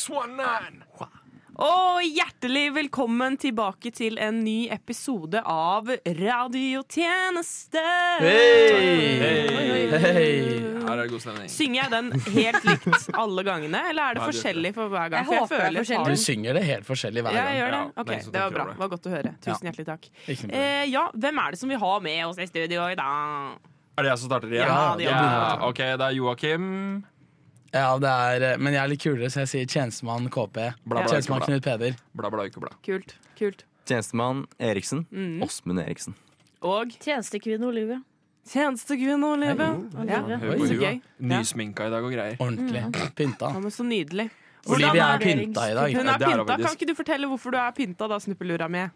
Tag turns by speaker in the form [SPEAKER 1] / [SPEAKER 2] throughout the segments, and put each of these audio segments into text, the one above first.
[SPEAKER 1] 619!
[SPEAKER 2] Og hjertelig velkommen tilbake til en ny episode av Radiotjeneste.
[SPEAKER 3] Hei!
[SPEAKER 1] Her er det god stemning.
[SPEAKER 2] Synger jeg den helt likt alle gangene, eller er det
[SPEAKER 1] Nei, du-
[SPEAKER 2] forskjellig for hver gang?
[SPEAKER 4] Jeg
[SPEAKER 2] For
[SPEAKER 4] håper det er
[SPEAKER 2] føler-
[SPEAKER 4] forskjellig.
[SPEAKER 3] Du synger det helt forskjellig hver
[SPEAKER 2] Ja, jeg
[SPEAKER 3] gang.
[SPEAKER 2] gjør
[SPEAKER 1] Ja,
[SPEAKER 2] det.
[SPEAKER 1] lenge
[SPEAKER 2] Ok,
[SPEAKER 1] siden jeg
[SPEAKER 2] Det var bra.
[SPEAKER 1] prøver det.
[SPEAKER 2] Det var godt å høre. Tusen hjertelig takk.
[SPEAKER 3] Ikke noe problem.
[SPEAKER 2] Eh, ja, hvem er det som vi har med oss i studio i dag?
[SPEAKER 1] Er det jeg som starter igjen?
[SPEAKER 2] Ja, det er
[SPEAKER 3] du.
[SPEAKER 1] ok, det er Joakim.
[SPEAKER 3] Ja, det er, eh, men jeg er litt kulere, så jeg sier tjenestemann KP.
[SPEAKER 1] bla,
[SPEAKER 3] Tjenestemann
[SPEAKER 1] bla.
[SPEAKER 3] Knut Peder.
[SPEAKER 1] Bla, bla, ikke bla.
[SPEAKER 2] Kult. kult.
[SPEAKER 5] Tjenestemann Eriksen.
[SPEAKER 3] Mm.
[SPEAKER 5] Åsmund Eriksen.
[SPEAKER 2] Og
[SPEAKER 4] Tjenestekvinne Olivia.
[SPEAKER 2] tjenestekvinne Olivia. Ja.
[SPEAKER 1] Hør
[SPEAKER 3] Oi,
[SPEAKER 1] på
[SPEAKER 3] så
[SPEAKER 1] hua.
[SPEAKER 2] gøy. Ja.
[SPEAKER 1] Nysminka i dag og greier.
[SPEAKER 3] Ordentlig pynta.
[SPEAKER 2] Ja, men så nydelig. Hvordan
[SPEAKER 3] Olivia
[SPEAKER 2] Mm. er
[SPEAKER 3] er pynta i dag.
[SPEAKER 2] Hun
[SPEAKER 1] Ja,
[SPEAKER 2] er
[SPEAKER 1] det er hun
[SPEAKER 2] pynta. Kan
[SPEAKER 1] faktisk.
[SPEAKER 2] ikke du fortelle hvorfor du er pynta, da, snuppelura mi?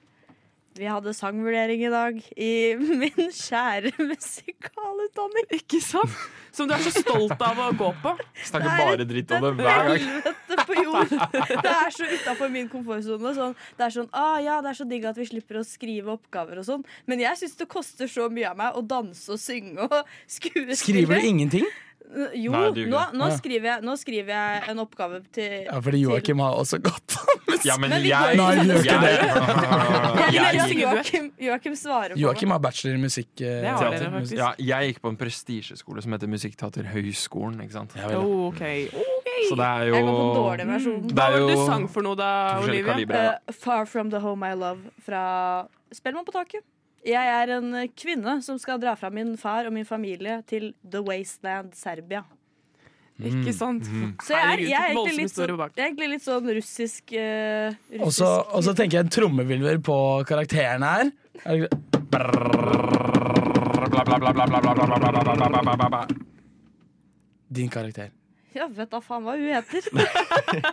[SPEAKER 4] Vi hadde sangvurdering i dag i min kjære musikalutdanning.
[SPEAKER 2] Ikke sant? Som du er så stolt av å gå på.
[SPEAKER 1] Snakker bare dritt om det hver gang.
[SPEAKER 4] helvete på jord. Det er så utafor min komfortsone. Sånn, det er sånn ah, ja, det er så digg at vi slipper å skrive oppgaver og sånn, men jeg syns det koster så mye av meg å danse og synge og skuespille.
[SPEAKER 3] Skriver du ingenting?
[SPEAKER 4] Jo,
[SPEAKER 1] Nei, det gjør
[SPEAKER 4] nå,
[SPEAKER 1] ikke
[SPEAKER 4] nå,
[SPEAKER 3] Ja.
[SPEAKER 4] skriver jeg, nå skriver jeg en oppgave til
[SPEAKER 3] Ja, fordi Joakim har også gått.
[SPEAKER 1] Ja, men
[SPEAKER 4] Men vi
[SPEAKER 1] jeg
[SPEAKER 4] går-
[SPEAKER 3] Nei, gjør ikke
[SPEAKER 4] til-
[SPEAKER 1] jeg,
[SPEAKER 4] Jeg
[SPEAKER 2] jeg-
[SPEAKER 4] vil at Joakim, Joakim svarer på
[SPEAKER 3] Joakim har bachelor i musikk. eh,
[SPEAKER 2] Det har dere faktisk.
[SPEAKER 1] ja, jeg gikk på en prestisjeskole som heter Musikkteaterhøgskolen. Ikke sant?
[SPEAKER 3] Ja, vel.
[SPEAKER 2] Oh, Ok.
[SPEAKER 1] Så det er
[SPEAKER 4] meg. Jeg går på
[SPEAKER 1] jo
[SPEAKER 4] dårlig versjon.
[SPEAKER 1] Det
[SPEAKER 2] Hva
[SPEAKER 1] er
[SPEAKER 2] var det du
[SPEAKER 1] jo
[SPEAKER 2] sang for noe, da,
[SPEAKER 1] forskjellige
[SPEAKER 2] Olivia?
[SPEAKER 1] kalibre. da.
[SPEAKER 4] Eh, Far From The Home I Love fra Spellemann på taket. Jeg er en eh, kvinne som skal dra fra min far og min familie til The Wasteland, Serbia.
[SPEAKER 1] Mm,
[SPEAKER 2] Ikke sant?
[SPEAKER 4] Så jeg er,
[SPEAKER 2] Herregud,
[SPEAKER 4] jeg er,
[SPEAKER 2] voldsomme
[SPEAKER 4] egentlig, litt sånn,
[SPEAKER 2] historier bak.
[SPEAKER 4] jeg er egentlig litt sånn russisk, eh,
[SPEAKER 3] Og
[SPEAKER 4] russisk.
[SPEAKER 3] så og så tenker jeg en trommevilver på karakteren her. Er det- Din karakter.
[SPEAKER 4] Ja, vet da faen hva hun heter.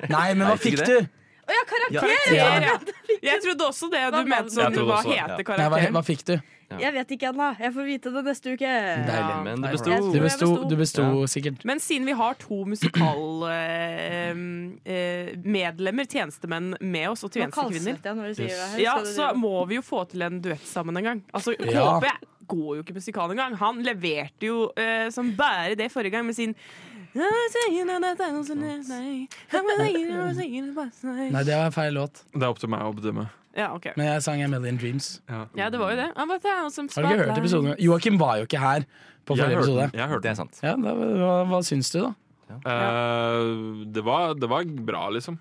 [SPEAKER 3] Nei, men hva
[SPEAKER 5] ikke
[SPEAKER 3] fikk
[SPEAKER 5] det?
[SPEAKER 3] du?
[SPEAKER 4] Å ja, karakter!
[SPEAKER 3] Ja.
[SPEAKER 2] Ja. Jeg trodde også det du
[SPEAKER 4] Hva-
[SPEAKER 2] mente som
[SPEAKER 1] Jeg trodde
[SPEAKER 2] hva
[SPEAKER 1] også det, ja.
[SPEAKER 2] heter
[SPEAKER 3] Nei, hva,
[SPEAKER 2] karakteren.
[SPEAKER 3] hva fikk du?
[SPEAKER 4] Jeg vet ikke ennå. Jeg får vite det neste uke.
[SPEAKER 3] Deilig.
[SPEAKER 5] Men
[SPEAKER 3] Nei, bra.
[SPEAKER 5] det besto.
[SPEAKER 3] Du
[SPEAKER 4] Jeg
[SPEAKER 3] besto,
[SPEAKER 4] besto.
[SPEAKER 3] du besto sikkert.
[SPEAKER 2] Men siden vi har to eh, musikalmedlemmer, eh, tjenestemenn, med oss, og
[SPEAKER 4] Nå
[SPEAKER 2] tjenestekvinner,
[SPEAKER 4] kalset jeg når du sier det. her.
[SPEAKER 2] ja,
[SPEAKER 4] det-
[SPEAKER 2] så må vi jo få til en duett sammen en gang. Altså,
[SPEAKER 3] Ja.
[SPEAKER 2] KP går jo ikke musikal engang. Han leverte jo eh, som bare det forrige gang med sin
[SPEAKER 3] Nei, det var feil låt.
[SPEAKER 1] Det er opp til meg å bedømme.
[SPEAKER 2] Ja, ok.
[SPEAKER 3] Men jeg sang A Million Dreams.
[SPEAKER 1] Ja.
[SPEAKER 2] Ja, det var jo det.
[SPEAKER 3] Har du ikke hørt episoden? Joakim var jo ikke her på
[SPEAKER 1] Jeg
[SPEAKER 3] forrige
[SPEAKER 1] hørte den.
[SPEAKER 3] episode.
[SPEAKER 1] Jeg hørte
[SPEAKER 5] Det er
[SPEAKER 1] den.
[SPEAKER 5] sant.
[SPEAKER 3] Ja, da, hva, hva syns du, da?
[SPEAKER 1] Eh, det, var, det var bra, liksom.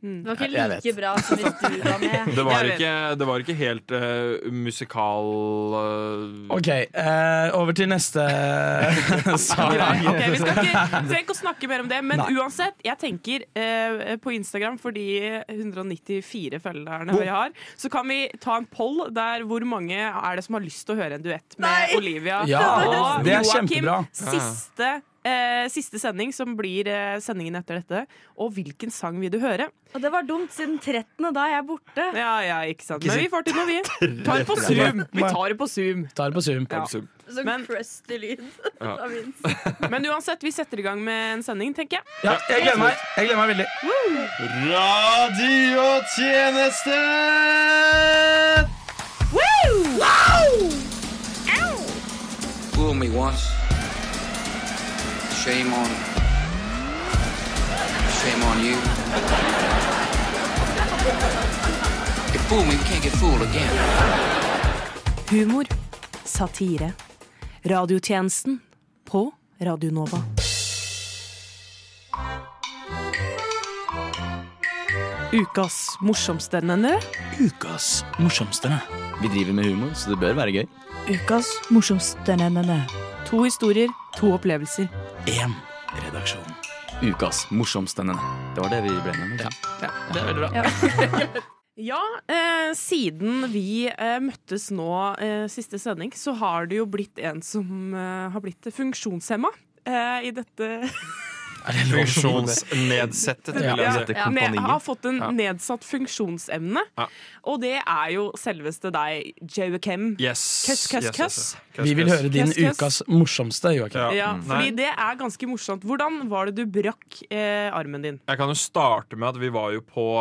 [SPEAKER 4] Det var ikke
[SPEAKER 3] Jeg
[SPEAKER 4] like
[SPEAKER 3] vet.
[SPEAKER 4] bra som hvis du var med.
[SPEAKER 1] Det var
[SPEAKER 2] Jeg vet.
[SPEAKER 1] ikke, det var ikke helt eh, musikal eh,
[SPEAKER 3] OK, eh, over til neste sang.
[SPEAKER 2] Grei. Ok, vi skal ikke, trenger ikke å snakke mer om det, men
[SPEAKER 3] Nei.
[SPEAKER 2] uansett, jeg tenker eh, på Instagram, for de 194 følgerne vi har, så kan vi ta en poll der hvor mange er det som har lyst til å høre en duett med
[SPEAKER 4] Nei.
[SPEAKER 2] Olivia
[SPEAKER 3] Ja,
[SPEAKER 2] og
[SPEAKER 3] det er
[SPEAKER 2] Joakim.
[SPEAKER 3] kjempebra.
[SPEAKER 2] Siste, eh, siste sending, som blir eh, sendingen etter dette. Og hvilken sang vil du høre?
[SPEAKER 4] Og det var dumt, siden 13. da er jeg borte.
[SPEAKER 2] Ja, ja, ikke sant. Men vi får til noe, vi. Tar det på Zoom. Vi tar det på Zoom.
[SPEAKER 3] Tar det på Zoom.
[SPEAKER 2] Ja.
[SPEAKER 1] sub-
[SPEAKER 4] Sånn
[SPEAKER 2] Men-
[SPEAKER 4] crusty lyd.
[SPEAKER 1] Ja.
[SPEAKER 4] av min.
[SPEAKER 2] Men uansett, vi setter i gang med en sending, tenker jeg.
[SPEAKER 3] Ja, jeg gleder meg. Jeg gleder meg veldig.
[SPEAKER 5] Radiotjeneste!
[SPEAKER 6] Fool me once. Shame on. Shame on you. You fool me, you can't get fooled again.
[SPEAKER 2] Humor. Satire. Radiotjenesten på Radionova. Ukas morsomste NNØ.
[SPEAKER 3] Ukas morsomste.
[SPEAKER 5] Vi driver med humor, så det bør være gøy.
[SPEAKER 2] Ukas morsomste NNØ. To historier, to opplevelser.
[SPEAKER 3] Én redaksjon.
[SPEAKER 5] Ukas morsomstendende. Det var det vi ble med. Ja.
[SPEAKER 2] Ja, eh, siden vi eh, møttes nå eh, siste sending, så har det jo blitt en som eh, har blitt funksjonshemma eh, i dette
[SPEAKER 1] Funksjonsnedsettet. vil jeg
[SPEAKER 3] Ja.
[SPEAKER 1] si.
[SPEAKER 4] Ja.
[SPEAKER 2] ned,
[SPEAKER 5] Kompanier.
[SPEAKER 2] har fått en
[SPEAKER 1] Ja.
[SPEAKER 2] nedsatt funksjonsevne.
[SPEAKER 1] Ja.
[SPEAKER 2] Og det er jo selveste deg, Joakim.
[SPEAKER 1] Yes.
[SPEAKER 2] Køss, køss,
[SPEAKER 1] yes, yes,
[SPEAKER 2] køss.
[SPEAKER 1] yes.
[SPEAKER 3] Vi vil høre din
[SPEAKER 2] Yes, yes.
[SPEAKER 3] ukas morsomste, Joakim.
[SPEAKER 1] Ja.
[SPEAKER 2] Ja,
[SPEAKER 1] Mm.
[SPEAKER 2] fordi
[SPEAKER 1] Nei,
[SPEAKER 2] det er ganske morsomt. Hvordan var det du brakk eh, armen din?
[SPEAKER 1] jeg kan jo starte med at vi var jo på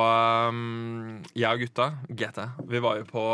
[SPEAKER 1] um, Jeg og gutta, GT, vi var jo på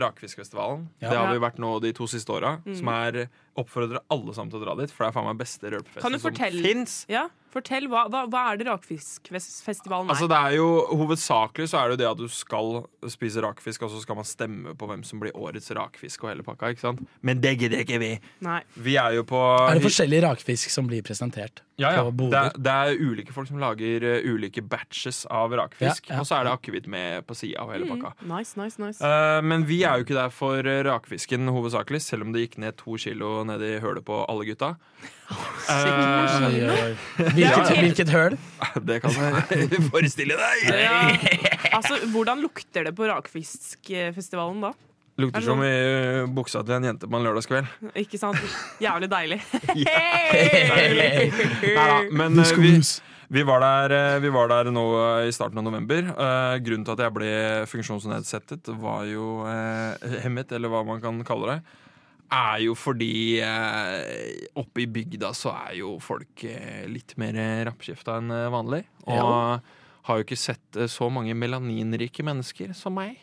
[SPEAKER 1] Rakfiskfestivalen.
[SPEAKER 3] Ja.
[SPEAKER 2] Mm.
[SPEAKER 1] Det har vi vært nå de to siste åra. Som er oppfordrer alle sammen til å dra dit, for det er faen meg beste
[SPEAKER 2] Kan du
[SPEAKER 1] rølpefesten som
[SPEAKER 2] fortelle?
[SPEAKER 1] fins.
[SPEAKER 2] Ja, fortell, hva, hva, hva er det Rakfiskfestivalen er?
[SPEAKER 1] Altså det er jo, Hovedsakelig så er det jo det at du skal spise rakfisk, og så skal man stemme på hvem som blir årets rakfisk og hele pakka. ikke sant? Men det gidder ikke vi.
[SPEAKER 2] Nei.
[SPEAKER 1] Vi er jo på
[SPEAKER 3] Er det forskjellig rakfisk som blir presentert?
[SPEAKER 1] ja, ja.
[SPEAKER 3] på
[SPEAKER 1] Det,
[SPEAKER 3] boder?
[SPEAKER 1] er, det er ulike folk som lager eh, ulike batches av rakfisk.
[SPEAKER 3] Ja, ja.
[SPEAKER 1] Og så er det akevitt med på sida og hele pakka.
[SPEAKER 2] Nice, nice, nice.
[SPEAKER 1] Eh, men vi er jo ikke der for eh, rakfisken hovedsakelig, selv om det gikk ned to kilo ned i hølet på alle gutta. Eh,
[SPEAKER 3] Oi, oi, oi.
[SPEAKER 2] Ja,
[SPEAKER 3] Hvilket,
[SPEAKER 2] ja.
[SPEAKER 3] hvilket høl?
[SPEAKER 1] det kan jeg forestille deg!
[SPEAKER 2] ja. Altså, hvordan lukter det på Rakfiskfestivalen da?
[SPEAKER 1] Lukter som i eh, buksa til en jente på en lørdagskveld.
[SPEAKER 2] Ikke sant? Jævlig deilig.
[SPEAKER 1] Neida, men eh, vi,
[SPEAKER 3] Discos.
[SPEAKER 1] vi, var der, eh, vi var der nå eh, i starten av november. Eh, grunnen til at jeg ble funksjonsnedsettet, var jo eh, hemmet, eller hva man kan kalle det. Er jo fordi eh, oppe i bygda så er jo folk eh, litt mer eh, rappkjefta enn eh, vanlig. Og har jo ikke sett eh, så mange melaninrike mennesker som meg.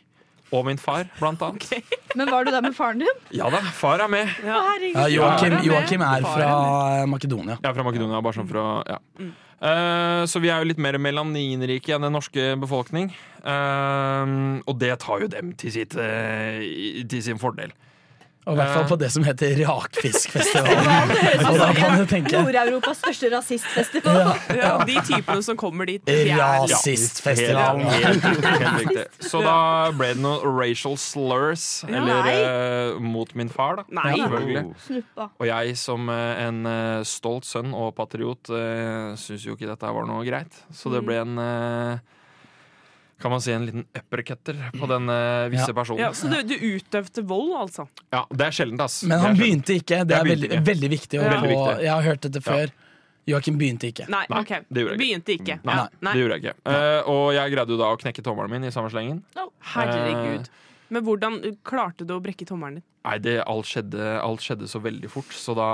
[SPEAKER 1] Og min far, blant annet.
[SPEAKER 4] Men var du der med faren din?
[SPEAKER 1] Ja da, far er med.
[SPEAKER 4] Å, herregud.
[SPEAKER 3] Ja,
[SPEAKER 2] Ja,
[SPEAKER 3] Joakim,
[SPEAKER 2] det er
[SPEAKER 3] Joakim er
[SPEAKER 2] Faren.
[SPEAKER 3] fra Makedonia.
[SPEAKER 1] Jeg er fra Makedonia, bare
[SPEAKER 2] Mm.
[SPEAKER 1] sånn for å ja. Eh, så vi er jo litt mer melaninrike enn den norske befolkning. Eh, og det tar jo dem til, sitt, eh, i- til sin fordel.
[SPEAKER 3] Og i hvert fall på det som heter Rakfiskfestivalen. Og da kan du tenke
[SPEAKER 4] Nord-Europas største rasistfestival.
[SPEAKER 2] Ja, de typene som kommer dit. de er-
[SPEAKER 3] Rasistfestivalen.
[SPEAKER 1] Helt, helt riktig. Så da ble det noen racial slurs, eller eh, mot min far, da.
[SPEAKER 2] Nei.
[SPEAKER 1] Selvfølgelig.
[SPEAKER 4] Snuppa.
[SPEAKER 1] Og jeg som eh, en eh, stolt sønn og patriot uh, syns jo ikke dette var noe greit. Så
[SPEAKER 2] Mm.
[SPEAKER 1] det ble en eh, Kan man si en liten uppercutter på den eh, visse
[SPEAKER 3] Ja.
[SPEAKER 1] personen.
[SPEAKER 2] Ja, så du, du utøvde vold, altså?
[SPEAKER 1] Ja, det er sjeldent, ass.
[SPEAKER 3] Men han begynte ikke. Det
[SPEAKER 1] Jeg
[SPEAKER 3] er
[SPEAKER 1] begynte
[SPEAKER 3] veldig,
[SPEAKER 1] ikke.
[SPEAKER 3] veldig viktig. å
[SPEAKER 2] Veldig
[SPEAKER 3] få-
[SPEAKER 1] viktig.
[SPEAKER 3] Jeg har hørt dette før. Joakim begynte ikke.
[SPEAKER 2] Nei,
[SPEAKER 1] Nei,
[SPEAKER 2] ok.
[SPEAKER 1] det gjorde jeg
[SPEAKER 2] Begynte ikke.
[SPEAKER 1] Nei,
[SPEAKER 2] Ja,
[SPEAKER 1] Det gjorde jeg ikke. Eh, og jeg greide jo da å knekke tommelen min i samme slengen.
[SPEAKER 2] Å, Herregud. Men hvordan klarte du å brekke tommelen din?
[SPEAKER 1] Nei, det, alt, skjedde, alt skjedde så veldig fort, så da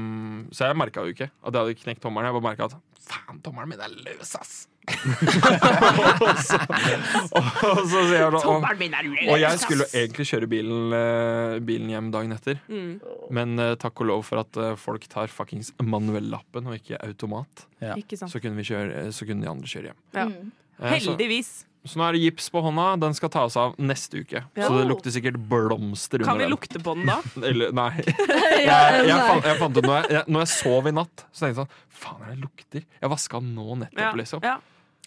[SPEAKER 1] mm, Så jeg merka jo ikke at jeg hadde knekt tommelen. Jeg bare merka at faen, tommelen min er løs, ass! og, så, og så sier jeg sånn og,
[SPEAKER 2] min er Mm,
[SPEAKER 1] og jeg skulle jo egentlig kjøre bilen, eh, bilen hjem dagen etter, men eh, takk og lov for at eh, folk tar fuckings manuellappen og ikke automat.
[SPEAKER 2] Ikke sant.
[SPEAKER 1] Så kunne, vi kjøre, så kunne de andre kjøre hjem.
[SPEAKER 2] Ja.
[SPEAKER 1] Eh, så-
[SPEAKER 2] Heldigvis.
[SPEAKER 1] Så nå er det gips på hånda. Den skal tas av neste uke.
[SPEAKER 2] Ja.
[SPEAKER 1] Så det lukter sikkert blomster
[SPEAKER 2] Kan
[SPEAKER 1] under
[SPEAKER 2] vi
[SPEAKER 1] den.
[SPEAKER 2] lukte på den da?
[SPEAKER 1] Eller, nei. Jeg,
[SPEAKER 4] Ja,
[SPEAKER 1] jeg,
[SPEAKER 4] nei.
[SPEAKER 1] fant, jeg fant ut når jeg, jeg, når jeg sov i natt, så tenkte jeg sånn Faen, er det lukter? Jeg vaska den nå nettopp,
[SPEAKER 2] Ja,
[SPEAKER 1] liksom.
[SPEAKER 2] ja.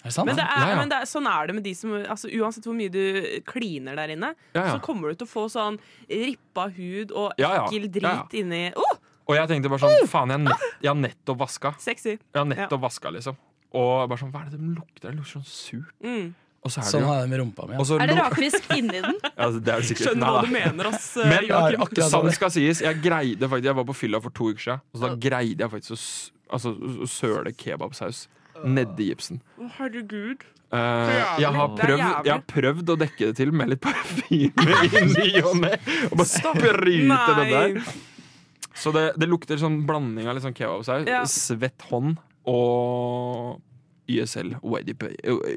[SPEAKER 3] Er det sant?
[SPEAKER 2] Men, det er,
[SPEAKER 1] Ja, ja.
[SPEAKER 2] men det er, sånn er det med de som altså, Uansett hvor mye du kliner der inne,
[SPEAKER 1] Ja, ja.
[SPEAKER 2] så kommer du til å få sånn rippa hud og
[SPEAKER 1] Ja, ja.
[SPEAKER 2] ekkel drit
[SPEAKER 1] Ja,
[SPEAKER 2] inni oh,
[SPEAKER 1] Og jeg tenkte bare
[SPEAKER 2] Uh!
[SPEAKER 1] sånn Faen, jeg, nett, jeg har nettopp vaska.
[SPEAKER 2] Sexy.
[SPEAKER 1] Jeg har nettopp vaska, liksom. Og bare sånn Hva er det de lukter? Det lukter sånn surt.
[SPEAKER 2] Mm.
[SPEAKER 1] Og så er
[SPEAKER 3] Sånn
[SPEAKER 1] det jo
[SPEAKER 3] har jeg det med rumpa mi.
[SPEAKER 1] og
[SPEAKER 3] Ja.
[SPEAKER 1] så
[SPEAKER 4] Er det
[SPEAKER 1] luk-
[SPEAKER 4] rakfisk inni den?
[SPEAKER 1] Ja, det er det sikkert.
[SPEAKER 2] Skjønner
[SPEAKER 1] Nei, da.
[SPEAKER 2] hva du mener, ass.
[SPEAKER 1] Men
[SPEAKER 3] Ja, det er
[SPEAKER 2] Joakim.
[SPEAKER 3] akkurat sånn.
[SPEAKER 1] sant skal sies, jeg greide faktisk Jeg var på fylla for to uker siden, og så da greide jeg faktisk å s- altså, å søle kebabsaus nedi gipsen.
[SPEAKER 2] Å, Herregud.
[SPEAKER 1] Eh,
[SPEAKER 2] jævlig.
[SPEAKER 1] jeg, har
[SPEAKER 2] Det er
[SPEAKER 1] prøvd,
[SPEAKER 2] jævlig.
[SPEAKER 1] jeg har prøvd å dekke det til med litt parfyme i ny og ne. Og bare sprute den der.
[SPEAKER 2] Nei.
[SPEAKER 1] Så det, det lukter sånn blanding av litt sånn kebabsaus,
[SPEAKER 2] Ja.
[SPEAKER 1] svett hånd og YSL og YDP.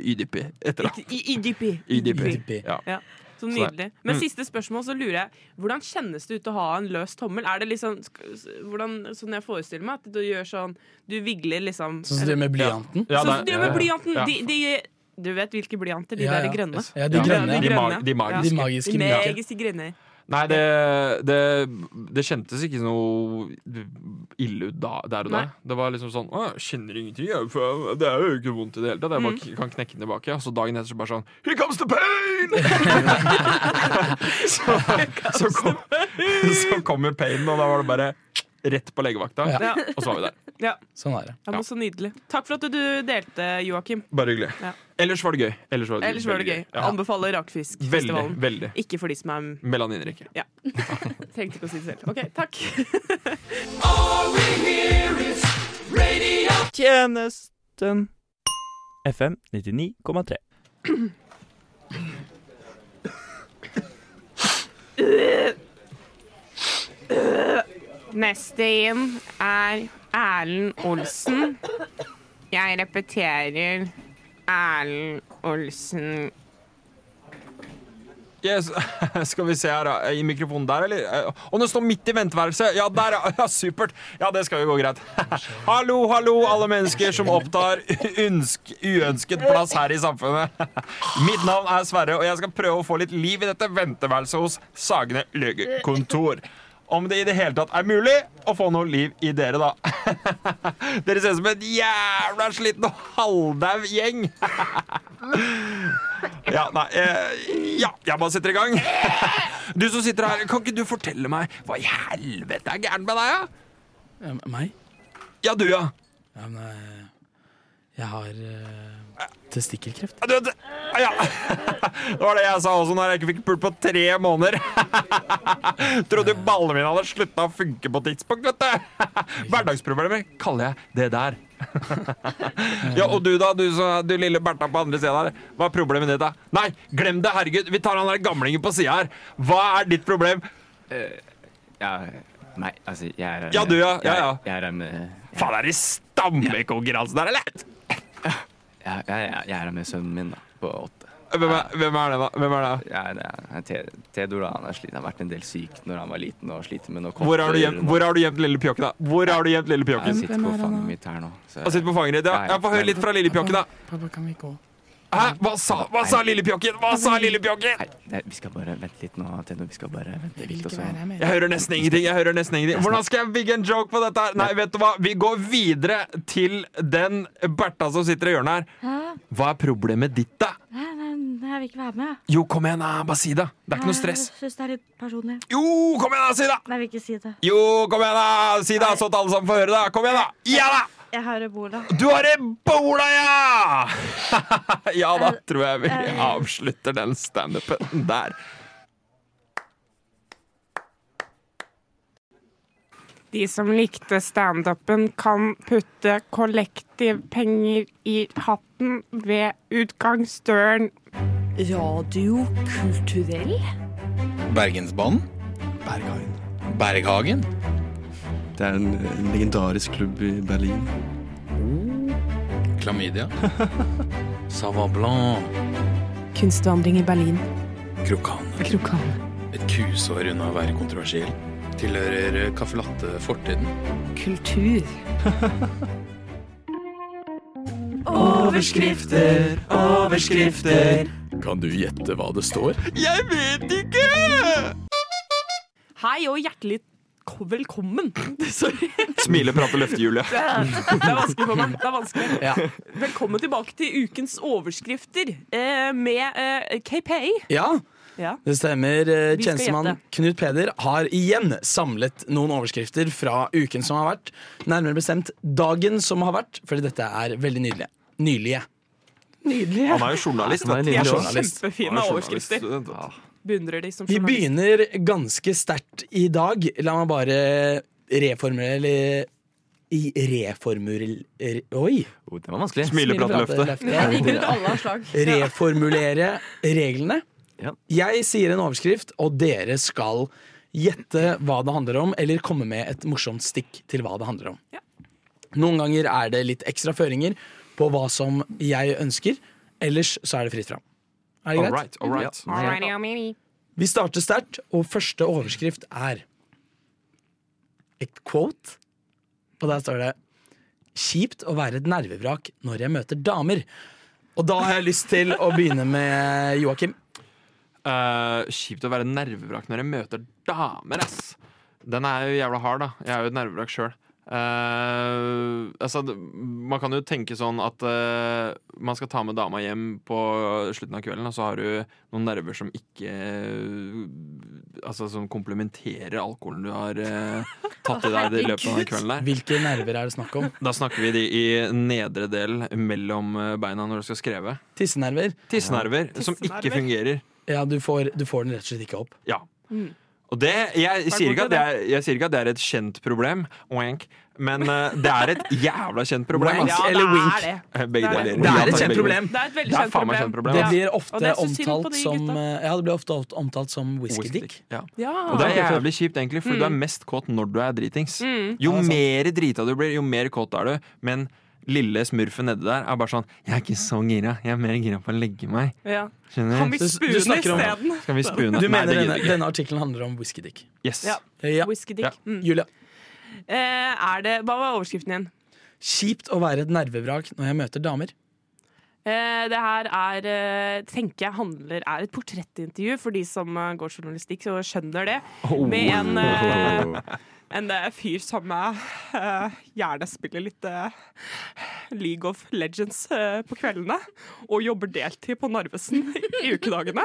[SPEAKER 1] YDP et eller annet.
[SPEAKER 2] I, i IDP.
[SPEAKER 1] YDP.
[SPEAKER 3] Tippi.
[SPEAKER 1] Ja.
[SPEAKER 2] Ja, så nydelig. Men siste spørsmål, så lurer jeg Hvordan kjennes det ut å ha en løs tommel? Er det liksom sk- hvordan, Sånn jeg forestiller meg, at du gjør sånn Du vigler liksom
[SPEAKER 3] Sånn som du gjør med blyanten.
[SPEAKER 1] Ja,
[SPEAKER 2] Sånn
[SPEAKER 1] det-
[SPEAKER 2] som du gjør med blyanten.
[SPEAKER 1] ja.
[SPEAKER 2] De, de, du vet hvilke blyanter? De
[SPEAKER 3] Ja,
[SPEAKER 2] der
[SPEAKER 3] ja.
[SPEAKER 2] grønne.
[SPEAKER 3] Ja, de
[SPEAKER 1] Ja,
[SPEAKER 3] grønne.
[SPEAKER 1] De,
[SPEAKER 2] grønne.
[SPEAKER 1] ma de
[SPEAKER 3] De
[SPEAKER 1] magiske.
[SPEAKER 3] magiske. blyanter.
[SPEAKER 2] Magiske grønne.
[SPEAKER 1] Nei, det, det, det kjentes ikke noe ille ut da, der og da.
[SPEAKER 2] Nei.
[SPEAKER 1] Det var liksom sånn Å, jeg kjenner ingenting. Jeg, for det er jo ikke vondt i det hele tatt. Jeg bare
[SPEAKER 2] Mm.
[SPEAKER 1] k- kan knekke den tilbake. Og så dagen etter så bare sånn Here comes the pain! så, så, kom, så kom jo painen, og da var det bare rett på legevakta.
[SPEAKER 3] Ja.
[SPEAKER 2] Ja,
[SPEAKER 1] Og så var vi der.
[SPEAKER 2] ja.
[SPEAKER 3] Sånn er det.
[SPEAKER 2] Ja, men Så nydelig. Takk for at du delte, Joakim.
[SPEAKER 1] Bare hyggelig.
[SPEAKER 2] Ja.
[SPEAKER 1] Ellers var det gøy. Ellers var det,
[SPEAKER 2] Ellers var det gøy.
[SPEAKER 1] Ja.
[SPEAKER 2] Anbefaler
[SPEAKER 1] Veldig,
[SPEAKER 2] Rakfiskfestivalen.
[SPEAKER 1] veldig.
[SPEAKER 2] Ikke for de som er
[SPEAKER 1] Melaninrike.
[SPEAKER 2] Trengte ikke å si det selv. OK, takk.
[SPEAKER 7] tjenesten. FM 99,3.
[SPEAKER 2] Neste inn er Erlend Olsen. Jeg repeterer Erlend Olsen.
[SPEAKER 1] Yes. Skal vi se her, da. I mikrofonen der, eller? Eh, Og den står midt i venteværelset! Ja, der, ja! ja, Supert! Ja, det skal jo gå greit. Hallo, hallo, alle mennesker som opptar ønsk, uønsket plass her i samfunnet. Mitt navn er Sverre, og jeg skal prøve å få litt liv i dette venteværelset hos Sagene legekontor. Om det i det hele tatt er mulig å få noe liv i dere, da. Dere ser ut som en jævla sliten og halvdau gjeng. Ja, nei, eh, ja, jeg bare setter i gang. Du som sitter her, kan ikke du fortelle meg hva i helvete er gærent med deg? Ja?
[SPEAKER 3] Ja, m- meg?
[SPEAKER 1] ja, du, ja.
[SPEAKER 3] Ja, men eh, jeg har eh, testikkelkreft.
[SPEAKER 1] Ja, Du, det, ja. Det var det jeg sa også når jeg ikke fikk pult på tre måneder. Trodde jo ballene mine hadde slutta å funke på tidspunkt, vet du. Hverdagsproblemer kaller jeg det der. Ja, og du da, du, så, du lille Bertha på andre sida der. Hva er problemet ditt, da? Nei, glem det, herregud. Vi tar han der gamlingen på sida her. Hva er ditt problem?
[SPEAKER 5] Ja, nei, altså, jeg er
[SPEAKER 1] Ja, du, ja. Ja, ja.
[SPEAKER 5] Jeg, jeg er en eh,
[SPEAKER 1] Faen, er det stammekonkurranse der, eller?
[SPEAKER 5] jeg, jeg, jeg, jeg er med sønnen min, da, på åtte.
[SPEAKER 1] Hvem er, hvem er det, da? Hvem er det?
[SPEAKER 5] Jeg, det er- Te- Theodor da, han er sliten. Han har vært en del syk når han var liten og sliter med noe
[SPEAKER 1] Hvor har du gjemt, hvor har du gjemt lille pjokk, da? Hvor har du gjemt lille pjokk?
[SPEAKER 5] Jeg sitter på fanget mitt her nå. Så,
[SPEAKER 1] Han sitter på fanget ditt, ja. ja. Få høre litt fra lille pjokk, da.
[SPEAKER 3] Pappa, kan vi gå?
[SPEAKER 1] Hæ? Hva sa, hva sa lille pjokken? Hva sa lille pjokken?
[SPEAKER 5] Nei, nei, vi skal bare vente litt nå, Theodor. Vi skal bare vente litt. Og så
[SPEAKER 1] Jeg hører nesten ingenting. jeg hører nesten ingenting Hvordan skal jeg bygge en joke på dette? her? Nei, vet du hva? Vi går videre til den Bertha som sitter i hjørnet her.
[SPEAKER 8] Hæ?
[SPEAKER 1] Hva er problemet ditt, da?
[SPEAKER 8] Nei, men jeg vil ikke være med.
[SPEAKER 1] Jo, kom igjen, da. Bare si det. Det er ikke noe stress.
[SPEAKER 8] Jeg syns det er litt personlig.
[SPEAKER 1] Jo, kom igjen, da. Si det!
[SPEAKER 8] Nei, jeg vil ikke si det.
[SPEAKER 1] Jo, kom igjen, da. Si det, sånn at alle sammen får høre det. Kom igjen, da. Ja da!
[SPEAKER 8] Jeg har ebola.
[SPEAKER 1] Du har ebola, ja! ja, da tror jeg vi avslutter den standupen der.
[SPEAKER 2] De som likte standupen, kan putte kollektivpenger i hatten ved utgangsdøren.
[SPEAKER 8] Radio kulturell?
[SPEAKER 9] Bergensbanen. Berghagen.
[SPEAKER 10] Det er en, en legendarisk klubb i Berlin.
[SPEAKER 9] Klamydia.
[SPEAKER 3] Sava Blanc.
[SPEAKER 11] Kunstvandring i Berlin.
[SPEAKER 9] Krokan.
[SPEAKER 11] Krokan.
[SPEAKER 9] Et kusår unna å være kontroversiell. Tilhører caffè latte-fortiden.
[SPEAKER 11] Kultur.
[SPEAKER 10] Overskrifter, overskrifter.
[SPEAKER 9] Kan du gjette hva det står?
[SPEAKER 1] Jeg vet ikke!
[SPEAKER 2] Hei og hjertelig ko- velkommen. Sorry,
[SPEAKER 1] Smile, prate, løfte, Julie.
[SPEAKER 2] det er det er vanskelig for meg. Det er vanskelig.
[SPEAKER 3] Ja.
[SPEAKER 2] Velkommen tilbake til ukens overskrifter eh, med eh, KPA.
[SPEAKER 3] ja,
[SPEAKER 2] Ja.
[SPEAKER 3] det stemmer. Eh,
[SPEAKER 2] Vi skal
[SPEAKER 3] Tjenestemann
[SPEAKER 2] gjette.
[SPEAKER 3] Knut Peder har igjen samlet noen overskrifter fra uken som har vært. Nærmere bestemt dagen som har vært, fordi dette er veldig nydelige. Nylige.
[SPEAKER 2] Nydelige.
[SPEAKER 1] Han er jo journalist. vet du.
[SPEAKER 2] De er så
[SPEAKER 3] journalist.
[SPEAKER 1] Han
[SPEAKER 2] kjempefine
[SPEAKER 1] er
[SPEAKER 2] overskrifter.
[SPEAKER 1] journalist.
[SPEAKER 2] Beundrer de som
[SPEAKER 3] Vi
[SPEAKER 2] journalist.
[SPEAKER 3] begynner ganske sterkt i dag. La meg bare reformulere eller i reformulere Oi!
[SPEAKER 5] oh, det var vanskelig.
[SPEAKER 1] Smile, prate, løfte.
[SPEAKER 4] Jeg liker at alle har slag.
[SPEAKER 3] Reformulere reglene.
[SPEAKER 5] Ja.
[SPEAKER 3] Jeg sier en overskrift, og dere skal gjette hva det handler om, eller komme med et morsomt stikk til hva det handler om.
[SPEAKER 2] Ja.
[SPEAKER 3] Noen ganger er det litt ekstra føringer på hva som jeg ønsker. Ellers så er det fritt fram. Er det
[SPEAKER 1] All
[SPEAKER 3] greit?
[SPEAKER 1] right, all right.
[SPEAKER 2] Alrighty, alrighty.
[SPEAKER 3] Vi starter sterkt, og første overskrift er et quote. Og der står det Kjipt å være et nervevrak når jeg møter damer. Og da har jeg lyst til å begynne med Joakim.
[SPEAKER 1] Eh, kjipt å være nervevrak når jeg møter damer, ass. Den er jo jævla hard, da. Jeg er jo et nervevrak sjøl. altså, det- man kan jo tenke sånn at eh, man skal ta med dama hjem på slutten av kvelden, og så har du noen nerver som ikke eh, Altså som komplementerer alkoholen du har eh, tatt i deg i løpet av den kvelden der.
[SPEAKER 3] Hvilke nerver er det snakk om?
[SPEAKER 1] Da snakker vi de i nedre del mellom eh, beina når du skal skreve.
[SPEAKER 3] Tissenerver.
[SPEAKER 1] Tissenerver som ikke
[SPEAKER 2] Tissenerver.
[SPEAKER 1] fungerer.
[SPEAKER 3] Ja, du får, du får den rett og slett ikke opp.
[SPEAKER 1] Ja.
[SPEAKER 2] Mm.
[SPEAKER 1] Og det, jeg, sier ikke at det er, jeg sier ikke at det er et kjent problem, Oink. men eh, det er et jævla kjent problem.
[SPEAKER 3] Wank
[SPEAKER 1] ass. Eh,
[SPEAKER 2] Ja, det
[SPEAKER 3] eller wink.
[SPEAKER 2] er det.
[SPEAKER 1] Begge
[SPEAKER 2] Det er-
[SPEAKER 1] deler.
[SPEAKER 3] Det er
[SPEAKER 1] Ja,
[SPEAKER 3] et kjent
[SPEAKER 1] takk,
[SPEAKER 3] problem.
[SPEAKER 2] Det er et veldig
[SPEAKER 1] Det er
[SPEAKER 2] kjent
[SPEAKER 1] faen meg
[SPEAKER 2] problem.
[SPEAKER 1] kjent problem.
[SPEAKER 3] Det
[SPEAKER 2] Ja.
[SPEAKER 3] blir
[SPEAKER 2] Og
[SPEAKER 3] ofte
[SPEAKER 2] det er så synd på
[SPEAKER 3] omtalt
[SPEAKER 2] de
[SPEAKER 3] som
[SPEAKER 2] gutta.
[SPEAKER 3] eh, Ja, det blir ofte oft- omtalt som whiskydick.
[SPEAKER 1] Ja.
[SPEAKER 2] Ja.
[SPEAKER 1] Og det er jævlig kjipt, egentlig,
[SPEAKER 2] Mm.
[SPEAKER 1] for du er mest kåt når du er dritings. Jo
[SPEAKER 3] Ja, altså. det er sant.
[SPEAKER 1] mer drita du blir, jo mer kåt er du. Men lille smurfen nedi der er bare sånn 'Jeg er ikke så gira. Jeg er mer gira på å legge meg'.
[SPEAKER 2] Ja.
[SPEAKER 1] Skjønner?
[SPEAKER 2] Kan vi
[SPEAKER 1] Så-
[SPEAKER 2] spune
[SPEAKER 1] du snakker om-
[SPEAKER 2] isteden?
[SPEAKER 1] Skal vi spune?
[SPEAKER 3] Du
[SPEAKER 1] Nei,
[SPEAKER 3] mener
[SPEAKER 1] det gidder
[SPEAKER 3] denne,
[SPEAKER 1] jeg ikke.
[SPEAKER 3] denne artikkelen handler om whiskydick?
[SPEAKER 1] Yes.
[SPEAKER 2] Ja.
[SPEAKER 3] Ja.
[SPEAKER 2] Whiskydick. Mm.
[SPEAKER 3] Julia.
[SPEAKER 2] Eh, er det, hva var overskriften igjen?
[SPEAKER 3] Kjipt å være et nervevrak når jeg møter damer.
[SPEAKER 2] Eh, det her er, eh, tenker jeg handler, er et portrettintervju for de som eh, går journalistikk og skjønner det. Med en, eh, en eh, fyr som eh, gjerne spiller litt eh, League of Legends eh, på kveldene. Og jobber deltid på Narvesen i ukedagene.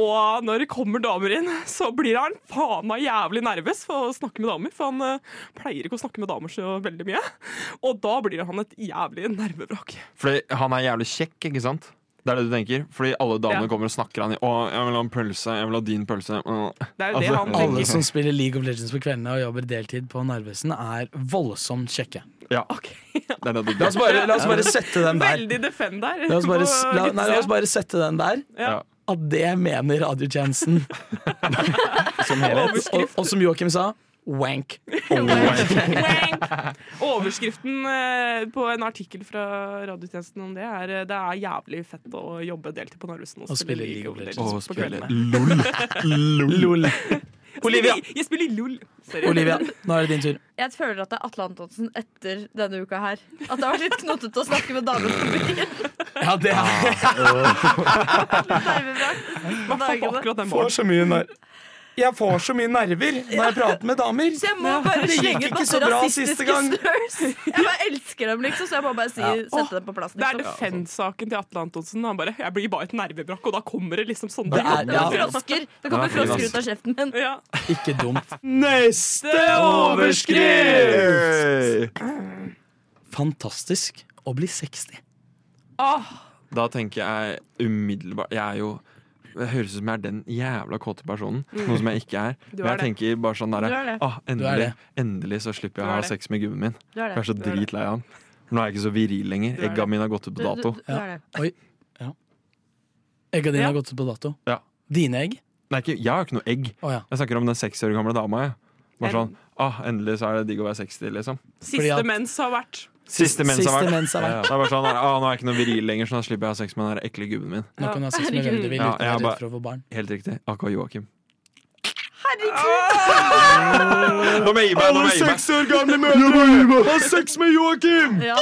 [SPEAKER 2] Og når det kommer damer inn, så blir han faen meg jævlig nervøs for å snakke med damer. For han eh, pleier ikke å snakke med damer så veldig mye. Og da blir han et jævlig nervevrak.
[SPEAKER 1] Fordi han er jævlig kjekk, ikke sant? Det er det du tenker? Fordi alle damene
[SPEAKER 2] Ja.
[SPEAKER 1] kommer og snakker han i 'Å, jeg vil ha en pølse. Jeg vil ha din pølse'. Å.
[SPEAKER 2] Det er jo det han tenker.
[SPEAKER 3] Altså, alle som spiller League of Legends på kveldene og jobber deltid på Narvesen, er voldsomt kjekke.
[SPEAKER 1] Ja. Det er det du
[SPEAKER 3] La oss bare, la oss bare sette den der.
[SPEAKER 2] Veldig defend der.
[SPEAKER 3] La oss bare,
[SPEAKER 2] på
[SPEAKER 3] la, nei, la oss
[SPEAKER 2] utsida.
[SPEAKER 3] bare sette den der.
[SPEAKER 2] Ja.
[SPEAKER 3] At det mener radiotjenesten.
[SPEAKER 7] Som
[SPEAKER 3] og, og, og som Joakim sa, wank.
[SPEAKER 2] Overskriften eh, på en artikkel fra radiotjenesten om det er eh, det er jævlig fett å jobbe deltid på Narvesen og,
[SPEAKER 3] Og spille League of Legends
[SPEAKER 2] på
[SPEAKER 3] på kveldene.
[SPEAKER 1] LOL.
[SPEAKER 3] LOL. Olivia.
[SPEAKER 2] Jeg spiller- Jeg spiller LOL. Sorry.
[SPEAKER 3] Olivia, nå er det din tur.
[SPEAKER 4] Jeg føler at det er Atle Antonsen etter denne uka her. At det har vært litt knotete å snakke med damer på byen.
[SPEAKER 3] Ja, det
[SPEAKER 2] Hva faen var akkurat den
[SPEAKER 3] Får
[SPEAKER 2] morgenen?
[SPEAKER 3] så mye ner- Jeg får så mye nerver når jeg prater med damer.
[SPEAKER 4] Så jeg må bare
[SPEAKER 3] Det
[SPEAKER 4] slenge
[SPEAKER 3] gikk
[SPEAKER 4] ut
[SPEAKER 3] ikke
[SPEAKER 4] masse
[SPEAKER 3] så bra siste
[SPEAKER 4] rasistiske
[SPEAKER 3] gang.
[SPEAKER 4] slurs. Jeg bare elsker dem, liksom, så jeg må bare si, sette dem på plass.
[SPEAKER 2] Det er
[SPEAKER 4] Liksom.
[SPEAKER 2] defend-saken til Atle Antonsen. Han bare 'Jeg blir bare et nervebrakk', og da kommer det liksom sånn.
[SPEAKER 3] Det er- ja.
[SPEAKER 4] Frosker. Det kommer
[SPEAKER 1] Ja, fy,
[SPEAKER 4] frosker
[SPEAKER 1] ass.
[SPEAKER 4] ut av kjeften min.
[SPEAKER 2] Ja.
[SPEAKER 3] Ikke dumt. Neste Fantastisk å bli 60.
[SPEAKER 2] Åh,
[SPEAKER 1] Da tenker jeg umiddelbart Jeg er jo det høres ut som jeg er den jævla kåte personen, noe som jeg ikke er.
[SPEAKER 2] Mm. Du
[SPEAKER 1] Men
[SPEAKER 2] er
[SPEAKER 1] jeg tenker bare sånn der,
[SPEAKER 4] Du er det.
[SPEAKER 1] ah,
[SPEAKER 3] Du
[SPEAKER 1] endelig,
[SPEAKER 3] er det.
[SPEAKER 1] endelig så slipper jeg
[SPEAKER 2] Du
[SPEAKER 1] å
[SPEAKER 2] er
[SPEAKER 1] ha
[SPEAKER 2] det.
[SPEAKER 1] sex med gubben min.
[SPEAKER 4] Du er
[SPEAKER 1] Jeg er så
[SPEAKER 2] Du er det.
[SPEAKER 1] dritlei av han. Nå er jeg ikke så viril lenger.
[SPEAKER 2] Du er
[SPEAKER 1] Egga
[SPEAKER 2] det.
[SPEAKER 1] mine har gått ut på dato.
[SPEAKER 3] Oi. Ja. Egga dine
[SPEAKER 2] Ja.
[SPEAKER 3] har gått ut på dato.
[SPEAKER 1] Ja.
[SPEAKER 3] Dine egg?
[SPEAKER 1] Nei, ikke, jeg har ikke noe egg.
[SPEAKER 3] Å ja.
[SPEAKER 1] Jeg snakker om den seks år gamle dama. Jeg. Bare
[SPEAKER 2] En-
[SPEAKER 1] sånn, ah, endelig så er det digg å være 60, liksom.
[SPEAKER 2] Siste
[SPEAKER 3] at-
[SPEAKER 2] mens har vært
[SPEAKER 1] Siste mens har
[SPEAKER 3] Siste
[SPEAKER 1] vært.
[SPEAKER 3] mens har vært.
[SPEAKER 1] Det er bare sånn, ah, nå er jeg ikke noe viril lenger, så nå slipper jeg å ha sex med den der ekle gubben min.
[SPEAKER 3] Nå kan du ha sex med hvem du vil
[SPEAKER 1] Ja,
[SPEAKER 3] uten å
[SPEAKER 1] jeg
[SPEAKER 3] være
[SPEAKER 1] bare-
[SPEAKER 3] redd for å få barn.
[SPEAKER 1] Helt riktig. AK Joakim. Herregud! Nå må jeg gi meg. Nå må jeg gi meg.
[SPEAKER 10] år gamle mødre har sex med Joakim!
[SPEAKER 4] Ja.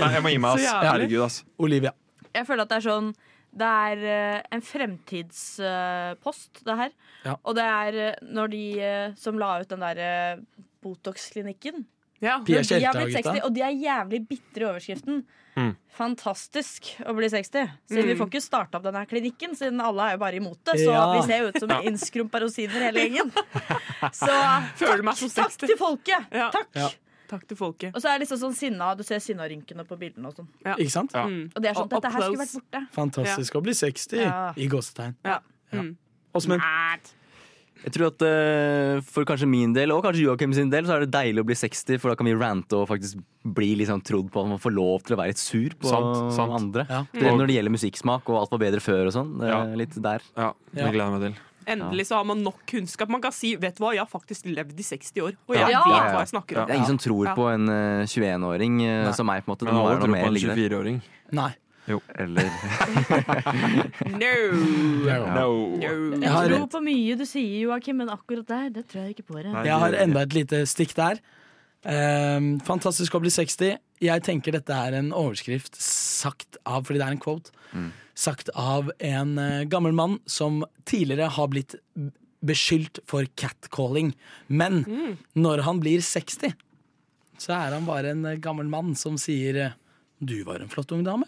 [SPEAKER 1] Nei, jeg må gi meg,
[SPEAKER 2] Så
[SPEAKER 1] ass.
[SPEAKER 2] jævlig.
[SPEAKER 1] Herregud, ass.
[SPEAKER 3] Olivia.
[SPEAKER 4] Jeg føler at det er sånn Det er eh, en fremtidspost, det her.
[SPEAKER 3] Ja.
[SPEAKER 4] Og det er eh, når de eh, som la ut den derre Botox-klinikken
[SPEAKER 2] Ja.
[SPEAKER 3] Pia
[SPEAKER 4] Når de har blitt
[SPEAKER 3] Kjelta,
[SPEAKER 4] 60,
[SPEAKER 3] gutta.
[SPEAKER 4] og de er jævlig bitre i overskriften.
[SPEAKER 1] Mm.
[SPEAKER 4] Fantastisk å bli 60. Siden
[SPEAKER 2] Mm.
[SPEAKER 4] vi får ikke starta opp denne klinikken, siden alle er jo bare imot det. Så
[SPEAKER 3] Ja.
[SPEAKER 4] vi ser jo ut som innskrumpa rosiner hele gjengen. Så eh,
[SPEAKER 2] Føler meg som
[SPEAKER 4] takk
[SPEAKER 2] 60.
[SPEAKER 4] til folket!
[SPEAKER 2] Ja.
[SPEAKER 4] Takk!
[SPEAKER 3] Ja.
[SPEAKER 2] Takk til folket.
[SPEAKER 4] Og så er det liksom sånn sinna, du ser sinnarynkene på bildene og sånn.
[SPEAKER 3] Ikke sant?
[SPEAKER 1] Ja.
[SPEAKER 2] Mm.
[SPEAKER 4] Og det er sånn,
[SPEAKER 2] Og- og
[SPEAKER 4] dette her skulle
[SPEAKER 2] close.
[SPEAKER 4] vært borte.
[SPEAKER 3] Fantastisk å bli 60
[SPEAKER 4] Ja.
[SPEAKER 3] i gåsetegn.
[SPEAKER 2] Ja. Mm.
[SPEAKER 3] Åsmund.
[SPEAKER 5] Jeg tror at eh, for kanskje min del, og kanskje Joakim sin del, så er det deilig å bli 60, for da kan vi rante og faktisk bli liksom trodd på at man får lov til å være litt sur på
[SPEAKER 1] Sant, sant.
[SPEAKER 5] andre.
[SPEAKER 3] Ja.
[SPEAKER 5] Det er Når det gjelder musikksmak og alt var bedre før og sånn. det er
[SPEAKER 1] Ja.
[SPEAKER 5] Litt der.
[SPEAKER 1] Ja,
[SPEAKER 3] Ja.
[SPEAKER 1] det gleder jeg meg til.
[SPEAKER 2] Endelig så har man nok kunnskap. Man kan si 'vet du hva, jeg har faktisk levd i 60 år', og
[SPEAKER 4] Ja.
[SPEAKER 2] jeg
[SPEAKER 4] Ja,
[SPEAKER 5] ja,
[SPEAKER 2] vet
[SPEAKER 5] ja.
[SPEAKER 2] hva jeg snakker om.
[SPEAKER 5] Det er ingen som tror
[SPEAKER 2] Ja.
[SPEAKER 5] på en eh, 21-åring eh, som meg, på en måte. Det
[SPEAKER 1] Men
[SPEAKER 5] må
[SPEAKER 1] alle
[SPEAKER 5] være
[SPEAKER 1] tror
[SPEAKER 5] noe
[SPEAKER 1] på
[SPEAKER 5] mer
[SPEAKER 1] en
[SPEAKER 5] liggende.
[SPEAKER 1] 24-åring.
[SPEAKER 3] Nei.
[SPEAKER 5] Eller
[SPEAKER 2] No.
[SPEAKER 1] No.
[SPEAKER 2] no.
[SPEAKER 4] Jeg
[SPEAKER 3] har-
[SPEAKER 4] tror på mye du sier, Joakim, men akkurat der, det tror jeg ikke på. Det.
[SPEAKER 3] Jeg har enda et lite stikk der. Ehm, fantastisk å bli 60. Jeg tenker dette er en overskrift sagt av Fordi det er en quote.
[SPEAKER 1] Mm.
[SPEAKER 3] Sagt av en eh, gammel mann som tidligere har blitt b- beskyldt for catcalling. Men
[SPEAKER 2] Mm.
[SPEAKER 3] når han blir 60, så er han bare en eh, gammel mann som sier eh, 'du var en flott ung dame'.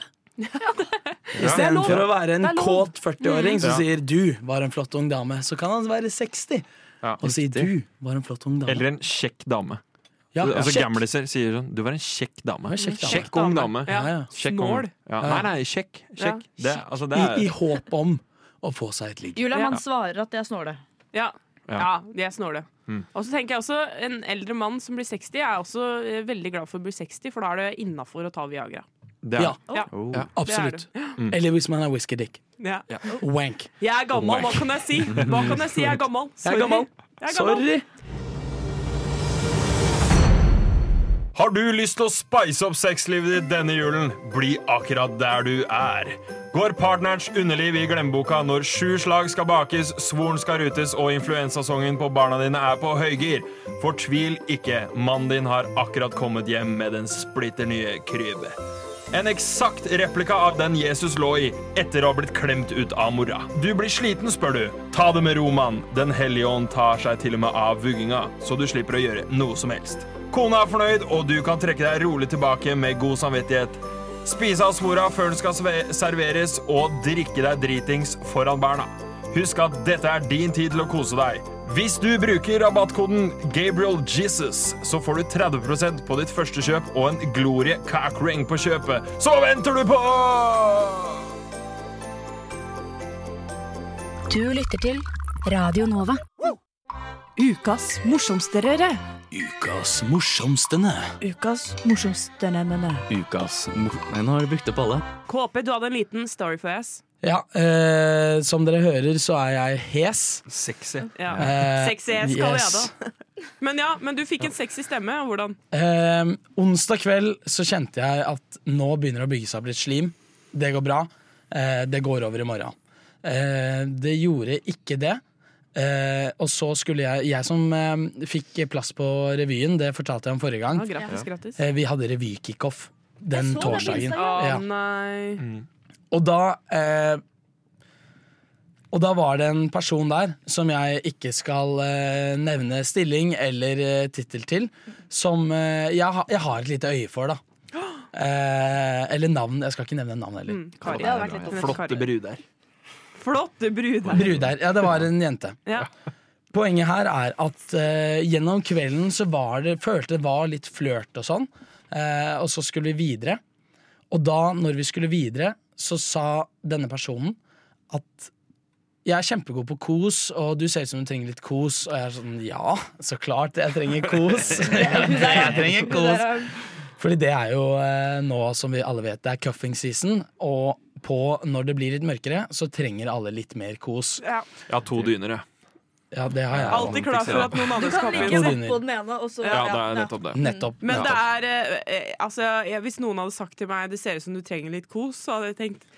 [SPEAKER 3] Istedenfor å være en
[SPEAKER 2] Det er lov.
[SPEAKER 3] kåt 40-åring som
[SPEAKER 1] Mm. Ja.
[SPEAKER 3] sier 'du var en flott ung dame', så kan han være 60
[SPEAKER 1] Ja.
[SPEAKER 3] og si 'du var en flott ung dame'.
[SPEAKER 1] Eller en kjekk dame.
[SPEAKER 3] Ja,
[SPEAKER 1] altså
[SPEAKER 3] kjekk.
[SPEAKER 1] Gamliser sier sånn Du var en kjekk dame.
[SPEAKER 3] Ja, kjekk dame.
[SPEAKER 1] Kjekk ung dame.
[SPEAKER 2] Ja.
[SPEAKER 3] Ja, ja.
[SPEAKER 1] Kjekk
[SPEAKER 2] Snål.
[SPEAKER 1] ung. Ja. Nei, nei, kjekk.
[SPEAKER 2] Ja.
[SPEAKER 1] kjekk. Det, altså, det
[SPEAKER 3] I, I
[SPEAKER 1] er,
[SPEAKER 3] håp om å få seg et ligg.
[SPEAKER 4] Julia,
[SPEAKER 2] Ja.
[SPEAKER 4] man svarer at jeg snåler.
[SPEAKER 2] Ja.
[SPEAKER 1] Ja.
[SPEAKER 2] Ja, de er snåle.
[SPEAKER 1] Mm.
[SPEAKER 2] Og så tenker jeg også En eldre mann som blir 60, er også eh, veldig glad for å bli 60, for da er det innafor å ta Viagra.
[SPEAKER 1] det er Oh.
[SPEAKER 3] Ja,
[SPEAKER 1] Oh.
[SPEAKER 3] absolutt. Eller hvis man er whisky-dick.
[SPEAKER 2] Ja.
[SPEAKER 3] Wank.
[SPEAKER 2] Jeg er gammel, hva kan jeg si? Hva kan jeg si? Jeg er gammel. Sorry. Jeg er gammel.
[SPEAKER 3] Sorry!
[SPEAKER 1] Har du lyst til å spice opp sexlivet ditt denne julen? Bli akkurat der du er. Går partnerens underliv i glemmeboka når sju slag skal bakes, svoren skal rutes og influensasongen på barna dine er på høygir? Fortvil ikke, mannen din har akkurat kommet hjem med den splitter nye krybbe. En eksakt replika av den Jesus lå i etter å ha blitt klemt ut av mora. Du blir sliten, spør du. Ta det med ro, mann. Den hellige ånd tar seg til og med av vugginga, så du slipper å gjøre noe som helst. Kona er fornøyd, og du kan trekke deg rolig tilbake med god samvittighet. Spise av svora før den skal sve- serveres, og drikke deg dritings foran barna. Husk at dette er din tid til å kose deg. Hvis du bruker rabattkoden GabrielJesus, så får du 30 på ditt første kjøp og en Glorie Cockring på kjøpet. Så hva venter du på?!
[SPEAKER 11] Du lytter til Radio Nova. Ukas morsomste røre.
[SPEAKER 5] Ukas morsomstene.
[SPEAKER 11] Ukas morsomste nennene.
[SPEAKER 5] Ukas mor... Nei, nå har du brukt opp alle.
[SPEAKER 2] KP, du hadde en liten story for oss.
[SPEAKER 3] Ja, eh, som dere hører så er jeg hes.
[SPEAKER 5] Sexy.
[SPEAKER 2] Ja.
[SPEAKER 3] Eh,
[SPEAKER 2] sexy ass, kaller
[SPEAKER 3] yes.
[SPEAKER 2] jeg det. Men ja, men du fikk en sexy stemme. og Hvordan?
[SPEAKER 3] Eh, onsdag kveld så kjente jeg at nå begynner det å bygge seg opp litt slim. Det går bra. Eh, det går over i morgen. Eh, det gjorde ikke det. Eh, og så skulle jeg Jeg som eh, fikk plass på revyen, det fortalte jeg om forrige gang.
[SPEAKER 2] Ja, grattis, Ja. grattis.
[SPEAKER 3] Eh, vi hadde revykickoff
[SPEAKER 4] Mm,
[SPEAKER 3] den torsdagen.
[SPEAKER 2] Å
[SPEAKER 3] Ja.
[SPEAKER 2] nei.
[SPEAKER 3] Og da eh, Og da var det en person der som jeg ikke skal eh, nevne stilling eller eh, tittel til, som eh, jeg, ha, jeg har et lite øye for, da. Eh, eller navn. Jeg skal ikke nevne navn heller.
[SPEAKER 2] Mm, Kari. Det hadde vært litt dumt. Flotte
[SPEAKER 1] bruder.
[SPEAKER 2] Flotte bruder.
[SPEAKER 3] Brudeir. Ja, det var en jente.
[SPEAKER 2] Ja.
[SPEAKER 3] Poenget her er at eh, gjennom kvelden så var det, følte det var litt flørt og sånn. Eh, og så skulle vi videre. Og da, når vi skulle videre, så sa denne personen at jeg er kjempegod på kos, og du ser ut som du trenger litt kos. Og jeg er sånn, ja, så klart jeg trenger kos. jeg trenger kos. Fordi det er jo eh, nå, som vi alle vet, det er cuffing season. Og på når det blir litt mørkere, så trenger alle litt mer kos.
[SPEAKER 2] Ja.
[SPEAKER 1] Jeg har to dyner, jeg.
[SPEAKER 3] Ja, det har jeg.
[SPEAKER 2] Alltid klar for at noen andre
[SPEAKER 4] Du
[SPEAKER 2] skal opp
[SPEAKER 4] kan
[SPEAKER 2] i
[SPEAKER 4] ligge
[SPEAKER 3] to
[SPEAKER 4] rett
[SPEAKER 3] dyner.
[SPEAKER 4] på den ene, og så
[SPEAKER 1] Ja, det er nettopp det.
[SPEAKER 3] Nettopp.
[SPEAKER 2] Men det
[SPEAKER 3] nettopp.
[SPEAKER 2] er eh, eh, Altså, jeg, hvis noen hadde sagt til meg det ser ut som du trenger litt kos, så hadde jeg tenkt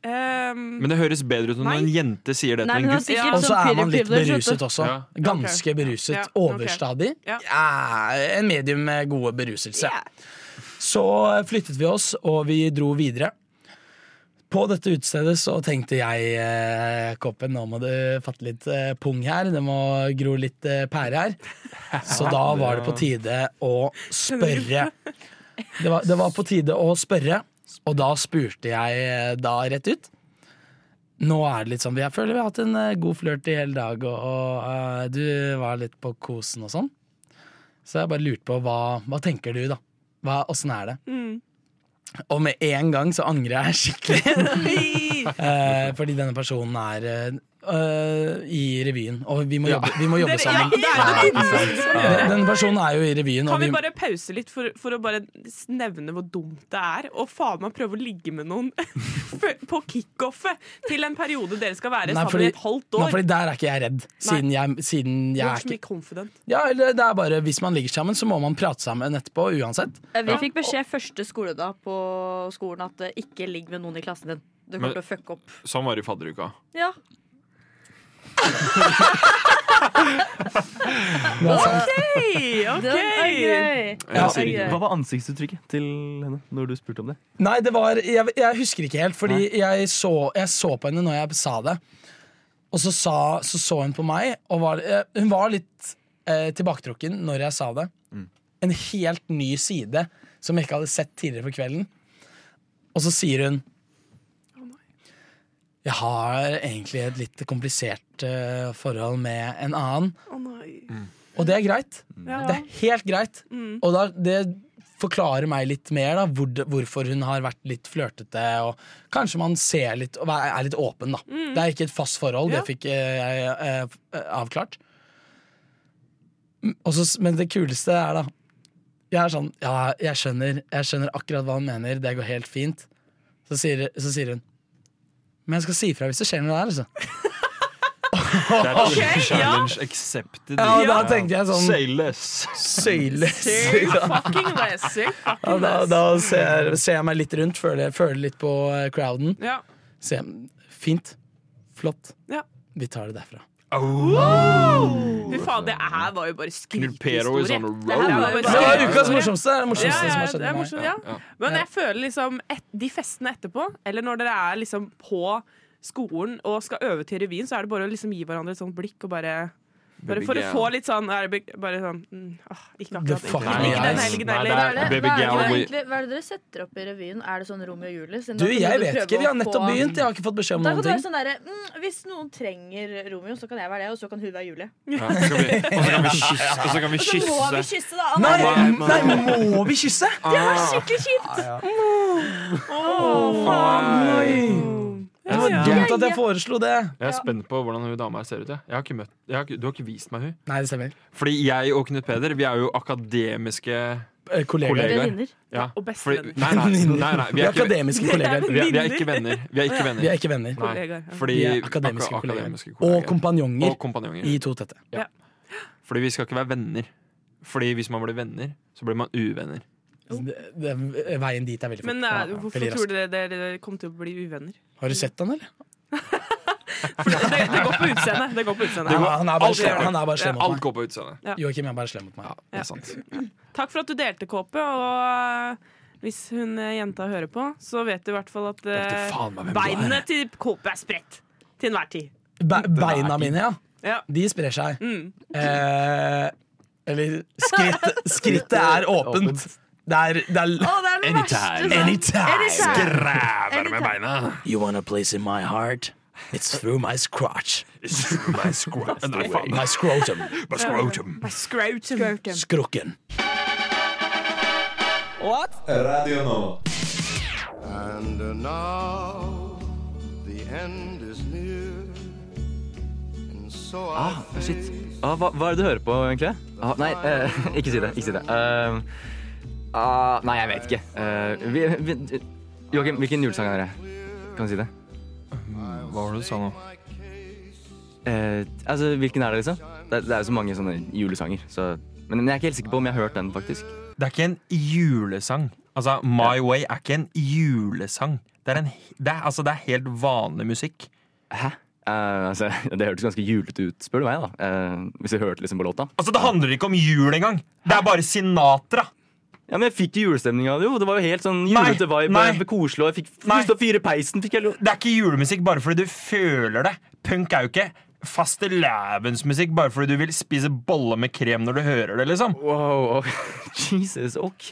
[SPEAKER 2] ehm,
[SPEAKER 1] Men det høres bedre ut når
[SPEAKER 2] Nei.
[SPEAKER 1] en jente sier det
[SPEAKER 2] Nei,
[SPEAKER 1] til en
[SPEAKER 2] hun har
[SPEAKER 1] gutt.
[SPEAKER 2] sikkert
[SPEAKER 3] Og så
[SPEAKER 2] sånn
[SPEAKER 3] er man litt
[SPEAKER 2] pirreprivileged,
[SPEAKER 3] beruset
[SPEAKER 2] vet du.
[SPEAKER 3] også.
[SPEAKER 1] Ja.
[SPEAKER 3] Ganske beruset.
[SPEAKER 2] Ja, ok.
[SPEAKER 3] Overstadig.
[SPEAKER 2] Ja.
[SPEAKER 3] Ja, en medium med gode beruselse. Så flyttet vi oss, og vi dro videre. På dette utestedet så tenkte jeg eh, Koppen, nå må du fatte litt eh, pung her. Det må gro litt eh, pære her. Så da var det på tide å spørre. Det var, det var på tide å spørre, og da spurte jeg eh, da rett ut. Nå er det litt sånn, Jeg føler vi har hatt en eh, god flørt i hele dag, og, og eh, du var litt på kosen og sånn. Så jeg bare lurte på hva, hva tenker du, da? Hva, åssen er det?
[SPEAKER 2] Mm.
[SPEAKER 3] Og med en gang så angrer jeg skikkelig. eh, fordi denne personen er eh, i revyen, og vi må
[SPEAKER 2] Ja.
[SPEAKER 3] jobbe, vi må jobbe
[SPEAKER 2] Dere- ja,
[SPEAKER 3] sammen.
[SPEAKER 2] det er jo det minste vi må gjøre.
[SPEAKER 3] Den- Denne personen er jo i revyen,
[SPEAKER 2] Kan
[SPEAKER 3] og
[SPEAKER 2] vi
[SPEAKER 3] vi,
[SPEAKER 2] bare pause litt for, for å bare s- nevne hvor dumt det er? Og faen meg prøve å ligge med noen f- på kickoffet til en periode dere skal være
[SPEAKER 3] Nei,
[SPEAKER 2] sammen
[SPEAKER 3] fordi-
[SPEAKER 2] i et halvt år.
[SPEAKER 3] nei, fordi der er ikke jeg redd. Siden jeg, siden jeg
[SPEAKER 2] Vær
[SPEAKER 3] er
[SPEAKER 2] så mye
[SPEAKER 3] ikke
[SPEAKER 2] confident.
[SPEAKER 3] ja, eller det er bare, Hvis man ligger sammen, så må man prate sammen etterpå uansett.
[SPEAKER 4] Vi fikk beskjed første skoledag på skolen at eh, ikke ligg med noen i klassen din. Du
[SPEAKER 1] Men-
[SPEAKER 4] kommer til å fucke opp.
[SPEAKER 1] Sånn var det i fadderuka.
[SPEAKER 4] Ja.
[SPEAKER 5] Det er sant.
[SPEAKER 2] OK!
[SPEAKER 4] Den er gøy.
[SPEAKER 5] Ja,
[SPEAKER 4] Den er
[SPEAKER 5] Hva
[SPEAKER 4] gøy.
[SPEAKER 5] var ansiktsuttrykket til henne når du spurte om det?
[SPEAKER 3] Nei, det var Jeg, jeg husker ikke helt, fordi jeg så, jeg så på henne når jeg sa det. Og så sa, så, så hun på meg, og var, eh, hun var litt eh, tilbaketrukken når jeg sa det. En helt ny side som jeg ikke hadde sett tidligere på kvelden. Og så sier hun Jeg har egentlig et litt komplisert eh, forhold med en annen.
[SPEAKER 2] Å nei.
[SPEAKER 3] Og det er greit.
[SPEAKER 2] Ja.
[SPEAKER 3] Det er helt greit.
[SPEAKER 2] Mm.
[SPEAKER 3] Og da, det forklarer meg litt mer da, hvor, hvorfor hun har vært litt flørtete. Og kanskje man ser litt og er er litt åpen, da.
[SPEAKER 2] Mm.
[SPEAKER 3] Det er ikke et fast forhold,
[SPEAKER 2] Ja.
[SPEAKER 3] det fikk eh, jeg eh, f- eh, avklart. Mm, og så s- men det kuleste er da Jeg er sånn Ja, jeg skjønner, jeg skjønner akkurat hva hun mener, det går helt fint. Så sier, så sier hun Men jeg skal si ifra hvis det skjer noe der, altså.
[SPEAKER 1] That's
[SPEAKER 3] Ok, ja.
[SPEAKER 1] challenge accepted.
[SPEAKER 3] Ja, og da tenkte jeg sånn
[SPEAKER 1] Say less.
[SPEAKER 3] Say less.
[SPEAKER 2] Say fucking less! Say
[SPEAKER 3] Ja,
[SPEAKER 2] fucking
[SPEAKER 3] da
[SPEAKER 2] less.
[SPEAKER 3] da ser, jeg- ser jeg meg litt rundt, føler, føler litt på eh, crowden.
[SPEAKER 2] Ja.
[SPEAKER 3] Ser, fint. Flott.
[SPEAKER 2] Ja.
[SPEAKER 3] Vi tar det derfra.
[SPEAKER 2] Wow! Fy faen, det her var jo
[SPEAKER 1] Pero
[SPEAKER 2] bare
[SPEAKER 1] is
[SPEAKER 2] skrikehistorie.
[SPEAKER 1] on a
[SPEAKER 3] sånn
[SPEAKER 1] roll.
[SPEAKER 2] Det her var jo
[SPEAKER 3] Det var
[SPEAKER 2] bare
[SPEAKER 3] ukas morsomste. Det er det morsomste
[SPEAKER 2] ja, ja,
[SPEAKER 3] som har
[SPEAKER 2] det er
[SPEAKER 3] skjedd med meg.
[SPEAKER 2] morsomt, ja.
[SPEAKER 1] Ja.
[SPEAKER 2] Men jeg føler liksom et, de festene etterpå, eller når dere er liksom på skolen og skal øve til revyen, så er det bare å liksom gi hverandre et sånt blikk og bare bare
[SPEAKER 1] Baby
[SPEAKER 2] for å
[SPEAKER 1] girl.
[SPEAKER 2] få litt sånn er det big- Bare sånn mm, ah, Ikke
[SPEAKER 1] The
[SPEAKER 2] akkurat
[SPEAKER 1] fuck
[SPEAKER 2] ikke, ikke den
[SPEAKER 1] yes.
[SPEAKER 2] helgen
[SPEAKER 1] Nei,
[SPEAKER 2] heller.
[SPEAKER 1] det
[SPEAKER 4] Hva er det,
[SPEAKER 1] Baby
[SPEAKER 4] hva er det,
[SPEAKER 1] gal,
[SPEAKER 4] dere
[SPEAKER 1] we-
[SPEAKER 4] egentlig- hva er det dere setter opp i revyen? Er det sånn Romeo og Julie? Siden
[SPEAKER 3] Du,
[SPEAKER 4] da kunne
[SPEAKER 3] jeg
[SPEAKER 4] du
[SPEAKER 3] vet
[SPEAKER 4] prøve
[SPEAKER 3] ikke. Vi har
[SPEAKER 4] å
[SPEAKER 3] nettopp
[SPEAKER 4] få-
[SPEAKER 3] begynt. Jeg har ikke fått beskjed om
[SPEAKER 4] Da kan
[SPEAKER 3] noen
[SPEAKER 4] det være
[SPEAKER 3] ting.
[SPEAKER 4] sånn derre mm, Hvis noen trenger Romeo, så kan jeg være det, og så kan hun være Julie.
[SPEAKER 1] Ja, og så kan vi- og så kan vi kysse. Og så kan vi
[SPEAKER 4] Og så må vi
[SPEAKER 1] kysse.
[SPEAKER 4] kysse, da.
[SPEAKER 3] Nei,
[SPEAKER 1] Nei, men-
[SPEAKER 3] nei, må vi kysse?
[SPEAKER 4] Det var skikkelig kjipt!
[SPEAKER 3] Å, faen, oi. Det var dumt at jeg foreslo det.
[SPEAKER 1] Jeg er spent på hvordan hun dama her ser ut. Jeg. Jeg har ikke møtt, jeg har ikke, du har ikke vist meg hun.
[SPEAKER 3] Nei, det stemmer.
[SPEAKER 1] Fordi jeg og Knut Peder Vi er jo akademiske
[SPEAKER 3] Eh, kollegaer. Venninner.
[SPEAKER 1] Ja.
[SPEAKER 2] Og
[SPEAKER 1] Fordi,
[SPEAKER 2] bestevenner.
[SPEAKER 1] nei, nei, nei, nei,
[SPEAKER 3] Vi er akademiske kollegaer.
[SPEAKER 1] Vi er, vi er ikke venner. Vi er ikke venner.
[SPEAKER 3] Vi er ikke venner.
[SPEAKER 1] Nei, fordi,
[SPEAKER 3] vi er akademiske
[SPEAKER 1] ak-
[SPEAKER 3] kollegaer.
[SPEAKER 1] akademiske
[SPEAKER 3] Og kompanjonger,
[SPEAKER 1] Og kompanjonger.
[SPEAKER 3] i To tette.
[SPEAKER 1] Ja. Fordi vi skal ikke være venner. Fordi hvis man blir venner, så blir man uvenner.
[SPEAKER 3] Det, det, veien dit er veldig
[SPEAKER 2] Men eh, hvorfor
[SPEAKER 3] Veldig rask.
[SPEAKER 2] tror dere dere kom til å bli uvenner?
[SPEAKER 3] Har du sett han, eller?
[SPEAKER 2] Det, det går på utseendet. Det går på utseendet.
[SPEAKER 3] Det går- han er bare
[SPEAKER 2] Alt
[SPEAKER 3] slem-
[SPEAKER 2] går-
[SPEAKER 3] han er bare
[SPEAKER 2] Ja.
[SPEAKER 3] slem mot
[SPEAKER 1] Alt
[SPEAKER 3] meg.
[SPEAKER 1] går på utseendet.
[SPEAKER 2] Ja.
[SPEAKER 3] Joakim er bare slem mot meg.
[SPEAKER 1] det er sant.
[SPEAKER 2] Takk for at du delte, Kåpe. Og eh, hvis hun eh, jenta hører på, så vet du i hvert fall at eh,
[SPEAKER 3] Vet du faen meg hvem du er.
[SPEAKER 2] beinene til Kåpe er spredt. Til enhver tid.
[SPEAKER 3] Be beina mine, ja.
[SPEAKER 2] Ja.
[SPEAKER 3] De sprer seg. Eh, eller skritt, skrittet er åpent. Det er, det er,
[SPEAKER 4] det er den verste sånn.
[SPEAKER 3] Anytime.
[SPEAKER 4] Anytime.
[SPEAKER 1] Skræver med beina.
[SPEAKER 3] You want a place in my heart? It's through my scratch.
[SPEAKER 1] It's through my scratch. Nei, faen.
[SPEAKER 3] My scrotum.
[SPEAKER 1] My scrotum.
[SPEAKER 2] My scrotum.
[SPEAKER 3] Skrukken.
[SPEAKER 12] Radio Nova. And uh, now the end is near. And so
[SPEAKER 5] Ah, shit. Ah, hva, hva er det du hører på, egentlig? Ah, nei, eh, ikke si det. Ikke si det. Eh, ah, nei, jeg vet ikke. Eh, vi, vi, Joakim, hvilken julesang er det? Kan du si det?
[SPEAKER 1] Hva var det du sa nå?
[SPEAKER 5] Eh, altså, hvilken er det, liksom? Det, det er jo så mange sånne julesanger. Så. Men jeg er ikke helt sikker på om jeg har hørt den, faktisk.
[SPEAKER 1] Det er ikke en julesang. Altså, My Way er ikke en julesang. Det er, en, det er, altså, det er helt vanlig musikk.
[SPEAKER 5] Hæ? Eh, altså, det hørtes ganske julete ut, spør du meg, da. Eh, hvis jeg hørte liksom på låta.
[SPEAKER 1] Altså, Det handler ikke om jul engang! Det er bare Sinatra!
[SPEAKER 5] Ja, men jeg fikk jo julestemning av det, jo. Det var jo helt sånn julete vibe.
[SPEAKER 1] nei.
[SPEAKER 5] og Koselig, og jeg fikk lyst til å fyre peisen. Fikk jeg lo
[SPEAKER 1] Det er ikke julemusikk bare fordi du føler det. Punk er jo ikke fastelavnsmusikk bare fordi du vil spise bolle med krem når du hører det, liksom.
[SPEAKER 5] Wow, Jesus, ok,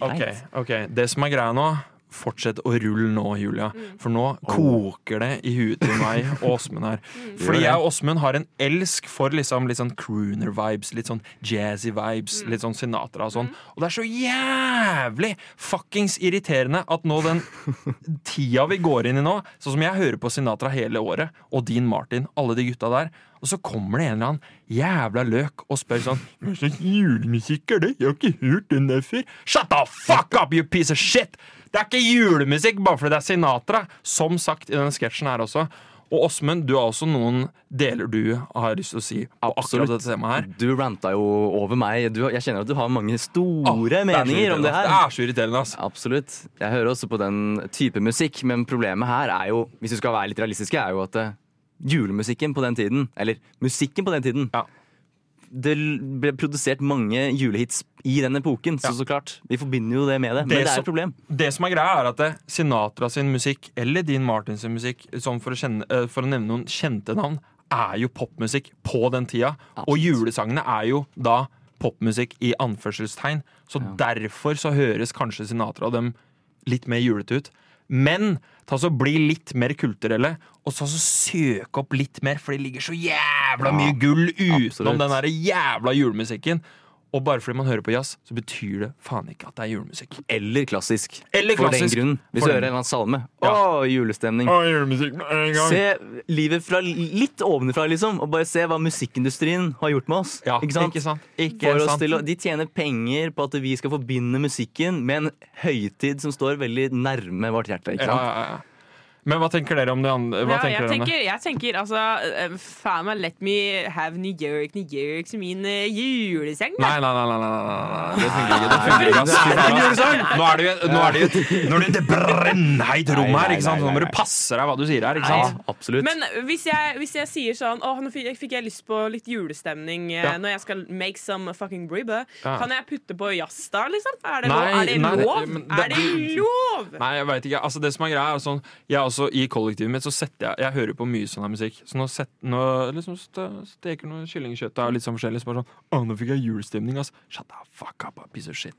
[SPEAKER 1] greit. Det som er greia nå, fortsett å rulle nå, Julia. For nå koker det i huet til meg og Åsmund her.
[SPEAKER 5] Gjør
[SPEAKER 1] Fordi
[SPEAKER 5] det.
[SPEAKER 1] jeg og Åsmund har en elsk for liksom, litt sånn crooner-vibes, litt sånn jazzy-vibes, litt sånn Sinatra og sånn. Og det er så jævlig fuckings irriterende at nå den tida vi går inn i nå, sånn som jeg hører på Sinatra hele året, og Dean Martin, alle de gutta der, og så kommer det en eller annen jævla løk og spør sånn Hva slags julemusikk er det? Jeg har ikke hørt den der før. Shut the fuck up, you piece of shit! Det er ikke julemusikk bare fordi det er Sinatra, som sagt i denne sketsjen her også. Og Åsmund, du har også noen deler du har lyst til å si på akkurat dette temaet her.
[SPEAKER 5] Du ranta jo over meg. Du, jeg kjenner at du har mange store
[SPEAKER 1] det er så
[SPEAKER 5] meninger om det
[SPEAKER 1] irriterende, ass.
[SPEAKER 5] her.
[SPEAKER 1] Det er så irriterende,
[SPEAKER 5] Absolutt. Jeg hører også på den type musikk, men problemet her er jo, hvis vi skal være litt realistiske, er jo at eh, julemusikken på den tiden, eller musikken på den tiden Det l- ble produsert mange julehits i den epoken, så så klart. Vi forbinder jo det med det, men det er
[SPEAKER 1] som-
[SPEAKER 5] et problem.
[SPEAKER 1] Det som er greia, er at det, Sinatra sin musikk, eller Dean Martin sin musikk, sånn for, å kjenne, eh, for å nevne noen kjente navn, er jo popmusikk på den tida. Og julesangene er jo da popmusikk i anførselstegn. Så derfor så høres kanskje Sinatra og dem litt mer julete ut. Men ta så bli litt mer kulturelle, og så, så søk opp litt mer, for det ligger så jævla mye gull utenom
[SPEAKER 5] absolutt.
[SPEAKER 1] den der jævla julemusikken. Og bare fordi man hører på jazz, så betyr det faen ikke at det er julemusikk.
[SPEAKER 5] Eller klassisk.
[SPEAKER 1] Eller
[SPEAKER 5] For den
[SPEAKER 1] klassisk.
[SPEAKER 5] grunnen. Hvis
[SPEAKER 1] For
[SPEAKER 5] du
[SPEAKER 1] den-
[SPEAKER 5] hører en eller annen salme. Å, julestemning.
[SPEAKER 1] Å, julemusikk med en gang.
[SPEAKER 5] Se livet fra litt ovenfra, liksom. Og bare se hva musikkindustrien har gjort med oss. ikke sant?
[SPEAKER 1] ikke sant? Ikke
[SPEAKER 5] For oss
[SPEAKER 1] sant.
[SPEAKER 5] Til, å- de tjener penger på at vi skal forbinde musikken med en høytid som står veldig nærme vårt hjerte. ikke sant?
[SPEAKER 1] Ja, ja, ja. Men hva tenker dere om det andre? Hva
[SPEAKER 2] Ja,
[SPEAKER 1] tenker
[SPEAKER 2] jeg,
[SPEAKER 1] dere om det?
[SPEAKER 2] tenker, jeg tenker altså eh, Faen meg, let me have New York, New York som min eh, juleseng.
[SPEAKER 1] Nei,
[SPEAKER 2] da.
[SPEAKER 1] nei, nei, nei, nei, nei, nei, nei. det funker ikke. Det funker ikke, ass. Fy faen, ass. Nå er det jo- nå er det jo- nå er det et brennheit rom her, ikke sant? Så nå må du passe deg hva du sier her, ikke sant?
[SPEAKER 5] Absolutt.
[SPEAKER 2] Men hvis jeg, hvis jeg sier sånn Åh, nå fikk fikk jeg lyst på litt julestemning eh,
[SPEAKER 1] Ja.
[SPEAKER 2] når jeg skal make some fucking ribba,
[SPEAKER 1] Ja.
[SPEAKER 2] kan jeg putte på jazz da, liksom? Er det,
[SPEAKER 1] Nei,
[SPEAKER 2] lov? er det
[SPEAKER 1] nei,
[SPEAKER 2] lov?
[SPEAKER 1] men det-
[SPEAKER 2] er det lov?
[SPEAKER 1] Nei, jeg vet ikke. Altså, det som er greia, er sånn Jeg er også i kollektivet mitt, så setter jeg Jeg hører på mye sånn her musikk. Så nå, set, nå liksom st- steker noe kyllingkjøtt og litt sånn forskjellig, så bare sånn Å, nå fikk jeg julestemning, ass. Shut the fuck up, a piece of shit.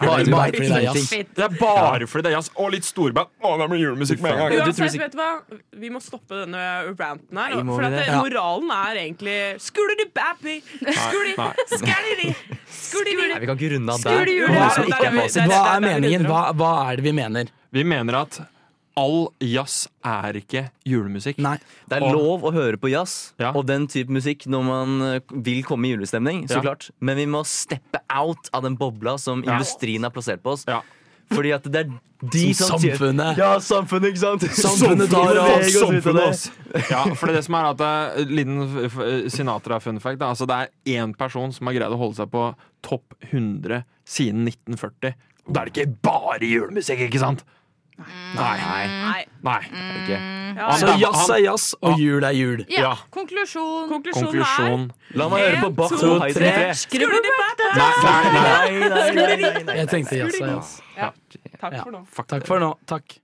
[SPEAKER 5] Bare-
[SPEAKER 1] Det er
[SPEAKER 5] bare fordi det er jazz.
[SPEAKER 1] Det er bare fordi det er jazz. Og litt storband. Å, da blir det julemusikk med en gang.
[SPEAKER 2] Uansett, vet du hva? Vi må stoppe denne ranten her.
[SPEAKER 1] Nei, må
[SPEAKER 2] For
[SPEAKER 1] vi
[SPEAKER 2] at
[SPEAKER 1] det?
[SPEAKER 2] det-
[SPEAKER 1] Ja.
[SPEAKER 2] moralen er egentlig Skulder du bappy? Skulder
[SPEAKER 5] nei.
[SPEAKER 2] Skulder
[SPEAKER 5] Nei, vi kan ikke runde av
[SPEAKER 2] Skulle
[SPEAKER 5] der.
[SPEAKER 2] du gjøre
[SPEAKER 5] Det
[SPEAKER 2] det?
[SPEAKER 5] som ikke er fasit.
[SPEAKER 3] Hva er meningen? Hva, hva er det vi mener?
[SPEAKER 1] Vi mener at all jazz er ikke julemusikk.
[SPEAKER 5] Det er lov å høre på jazz og den type musikk når man eh, vil komme i julestemning, så
[SPEAKER 1] Ja.
[SPEAKER 5] klart. Men vi må steppe out av den bobla som
[SPEAKER 1] Ja.
[SPEAKER 5] industrien har plassert på oss. Fordi at det er de som,
[SPEAKER 1] Som
[SPEAKER 5] sier-
[SPEAKER 1] samfunnet.
[SPEAKER 5] Ja, samfunnet, ikke sant?
[SPEAKER 1] Samfunnet tar av
[SPEAKER 5] beveger oss ut av det.
[SPEAKER 1] oss. Ja, for det er det som er at eh, Liten f- f- Sinatra-fun fact. da. Altså, det er én person som har greid å holde seg på topp 100 siden 1940. Og da er det ikke bare julemusikk, ikke sant? Nei.
[SPEAKER 2] Nei.
[SPEAKER 1] Nei.
[SPEAKER 2] Ja.
[SPEAKER 3] Så jazz er jazz,
[SPEAKER 5] Ah.
[SPEAKER 3] og jul er jul.
[SPEAKER 1] Ja.
[SPEAKER 4] Konklusjon.
[SPEAKER 1] Ah, Konklusjon.
[SPEAKER 5] La meg høre på Bach
[SPEAKER 3] to,
[SPEAKER 5] og Haydn.
[SPEAKER 3] tre.
[SPEAKER 4] Skrubbe bæta!
[SPEAKER 3] Nei,
[SPEAKER 4] nei, nei, nei,
[SPEAKER 3] nei. Jeg tenkte jazz er jazz.
[SPEAKER 2] Ja. Takk for nå.
[SPEAKER 3] Takk for nå. Takk.